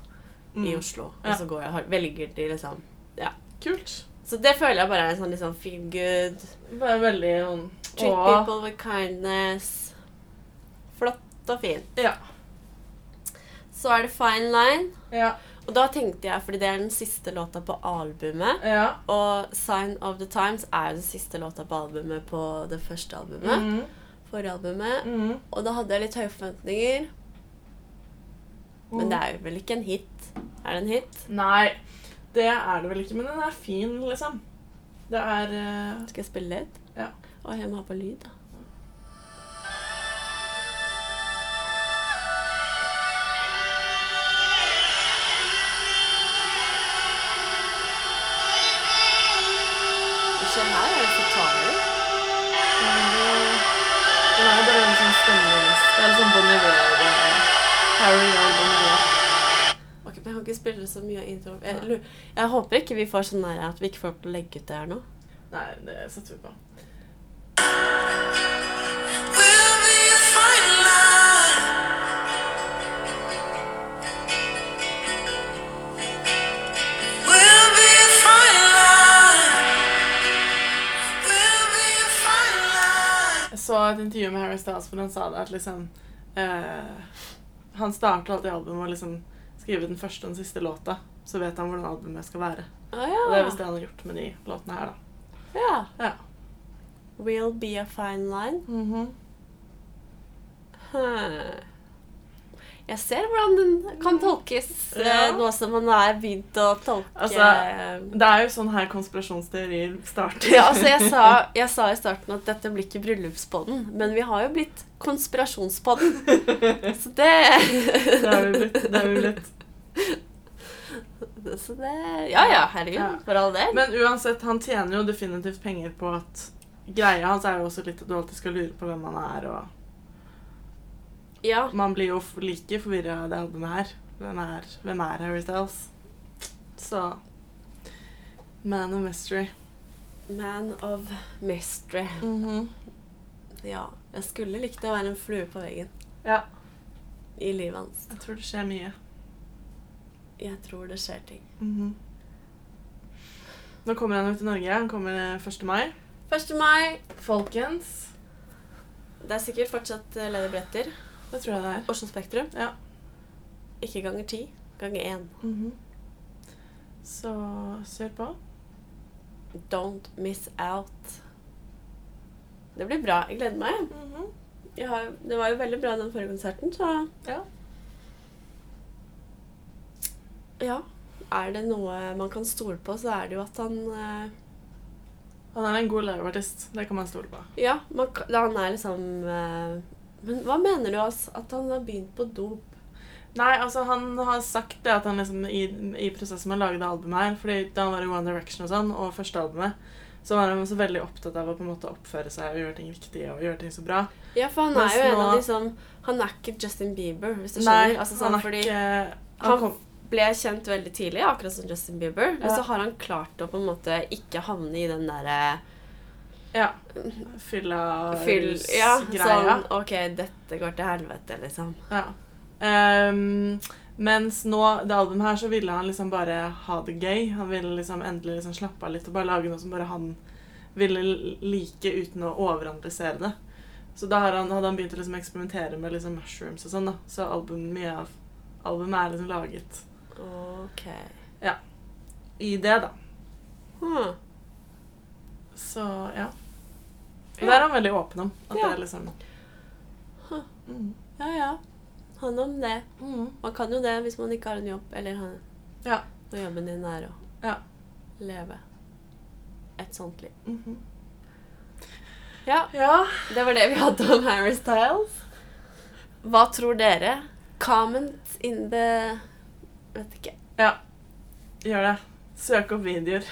Speaker 2: i
Speaker 1: Mm.
Speaker 2: Oslo. Og
Speaker 1: Ja.
Speaker 2: så går jeg, velger de liksom
Speaker 1: Kult.
Speaker 2: Så det føler jeg bare er en sånn liksom feel good.
Speaker 1: Bare veldig sånn
Speaker 2: Treat
Speaker 1: Åh.
Speaker 2: people with kindness. Flott og fint.
Speaker 1: Ja.
Speaker 2: Så er det Fine Line.
Speaker 1: Ja.
Speaker 2: Og da tenkte jeg, fordi det er den siste låta på albumet,
Speaker 1: ja.
Speaker 2: og Sign of the Times er jo den siste låta på albumet på det første albumet.
Speaker 1: Mm.
Speaker 2: Forrige albumet.
Speaker 1: Mm.
Speaker 2: Og da hadde jeg litt høye forventninger.
Speaker 1: Mm.
Speaker 2: Men det er jo vel ikke en hit? Er det en hit?
Speaker 1: Nei, det er det vel ikke, men den er fin, liksom. Det er eh,
Speaker 2: Skal jeg spille litt?
Speaker 1: Ja.
Speaker 2: Å, jeg må ha på lyd, da. Se her er det gitarer.
Speaker 1: Den er jo bare en sånn stemmeløs Det er litt sånn Bon Iver eh, Harry og Bon Iver.
Speaker 2: Ok, men Jeg kan ikke spille så mye av introen. Jeg, lurer- jeg håper ikke vi får sånn der at vi ikke får lov til å legge ut det her nå.
Speaker 1: Nei, det setter vi på.
Speaker 3: We'll be a fine line. We'll be a fine line. We'll be a fine line.
Speaker 1: Jeg så et intervju med Harry Styles hvor han sa det at liksom eh, Han starter alltid albumet med å liksom skrive den første og den siste låta. Så vet han hvordan albumet skal være.
Speaker 2: Å
Speaker 1: Og det er
Speaker 2: ja.
Speaker 1: visst det han har gjort med de låtene her, da.
Speaker 2: ja.
Speaker 1: Ja.
Speaker 2: We'll be a fine line. Huh. Jeg ser hvordan den kan tolkes,
Speaker 1: Ja.
Speaker 2: eh, nå som man er begynt å tolke
Speaker 1: Altså- Det er jo sånn her konspirasjonsteorier starter.
Speaker 2: ja, altså jeg, sa, jeg sa i starten at dette blir ikke bryllupspodden, men vi har jo blitt konspirasjonspodden. Så det
Speaker 1: Det er jo blitt. Det er jo blitt.
Speaker 2: Så det Ja ja, herregud,
Speaker 1: Ja.
Speaker 2: for all del.
Speaker 1: Men uansett, han tjener jo definitivt penger på at Greia hans er jo også litt at du alltid skal lure på hvem han er, og
Speaker 2: ja.
Speaker 1: Man blir jo f- like forvirra av det albumet her. Hvem er, hvem er Harry Styles? Så Man of Mystery.
Speaker 2: Man of mystery.
Speaker 1: Mhm.
Speaker 2: Ja. Jeg skulle likt å være en flue på veggen
Speaker 1: Ja.
Speaker 2: i livet hans.
Speaker 1: Jeg tror det skjer mye.
Speaker 2: Jeg tror det skjer ting.
Speaker 1: Mhm. Nå kommer han jo til Norge. Han kommer eh, 1. mai.
Speaker 2: 1. mai.
Speaker 1: Folkens.
Speaker 2: Det er sikkert fortsatt eh, ledige billetter.
Speaker 1: Det tror jeg det er.
Speaker 2: Oslo Spektrum.
Speaker 1: Ja.
Speaker 2: Ikke ganger ti, ganger én.
Speaker 1: Mhm. Så kjør på.
Speaker 2: Don't miss out. Det blir bra. Jeg gleder meg.
Speaker 1: Mhm.
Speaker 2: Jeg har, det var jo veldig bra den forrige konserten, så
Speaker 1: Ja.
Speaker 2: ja. Er det noe man kan stole på, så er det jo at han eh,
Speaker 1: Han er en god liveartist. Det kan man stole på.
Speaker 2: Ja, man, kan- han er liksom eh, Men hva mener du, altså? At han har begynt på dop?
Speaker 1: Nei, altså han har sagt det at han liksom i, i prosessen med å lage det albumet her Fordi da han var i One Direction og sånn, og første albumet, så var han så veldig opptatt av å på en måte oppføre seg og gjøre ting riktig og gjøre ting så bra.
Speaker 2: Ja, for han
Speaker 1: Mens
Speaker 2: er jo en
Speaker 1: nå-
Speaker 2: av de som Han er ikke Justin Bieber, hvis du skjønner.
Speaker 1: Nei,
Speaker 2: altså, sånn,
Speaker 1: han er
Speaker 2: fordi
Speaker 1: ikke
Speaker 2: han-
Speaker 1: han kom,
Speaker 2: ble kjent veldig tidlig, akkurat som Justin Bieber. Men
Speaker 1: Ja.
Speaker 2: så har han klart å på en måte ikke havne i den eh, derre
Speaker 1: Ja. Fylla
Speaker 2: fyll... Ja,
Speaker 1: rusgreia.
Speaker 2: sånn OK, dette går til helvete, liksom.
Speaker 1: Ja. Ehm, mens nå, det albumet her, så ville han liksom bare ha det gøy. Han ville liksom endelig liksom slappe av litt og bare lage noe som bare han ville l- like uten å overanalysere det. Så da har han, hadde han begynt å liksom eksperimentere med liksom mushrooms og sånn, da. Så albumet, mye av albumet er liksom laget
Speaker 2: OK.
Speaker 1: i det, da.
Speaker 2: Huh.
Speaker 1: Så ja. Og
Speaker 2: Ja.
Speaker 1: det er han veldig åpen om. At
Speaker 2: Ja.
Speaker 1: det er liksom
Speaker 2: Huh.
Speaker 1: mm.
Speaker 2: Ja ja. Han om det.
Speaker 1: Mm.
Speaker 2: Man kan jo det hvis man ikke har en jobb, eller han,
Speaker 1: Ja.
Speaker 2: når jobben din er å
Speaker 1: Ja.
Speaker 2: leve et sånt liv.
Speaker 1: Mhm.
Speaker 2: Ja,
Speaker 1: Ja.
Speaker 2: det var det vi hadde om Harry Styles. Hva tror dere Comment in the Vet ikke.
Speaker 1: Gjør det. Søk opp videoer.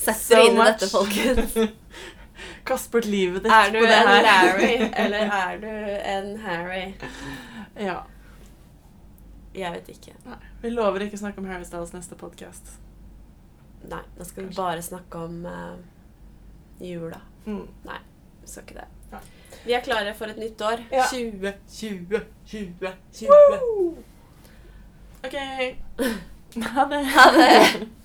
Speaker 2: Sett
Speaker 1: So
Speaker 2: dere inn i
Speaker 1: much.
Speaker 2: dette, folkens.
Speaker 1: Kast bort livet ditt
Speaker 2: Er du
Speaker 1: på det
Speaker 2: en
Speaker 1: her.
Speaker 2: Larry, eller er du en Harry?
Speaker 1: Ja.
Speaker 2: Jeg vet ikke.
Speaker 1: Nei. Vi lover ikke å snakke om Harry Styles neste podkast.
Speaker 2: Nei, nå skal vi
Speaker 1: Kanskje.
Speaker 2: bare snakke om eh, jula.
Speaker 1: Mm.
Speaker 2: Vi skal ikke det.
Speaker 1: Nei.
Speaker 2: Vi er klare for et nytt år.
Speaker 1: Ja.
Speaker 2: 20.
Speaker 1: 20, 20, 20. OK. Ha det.
Speaker 2: Ha det.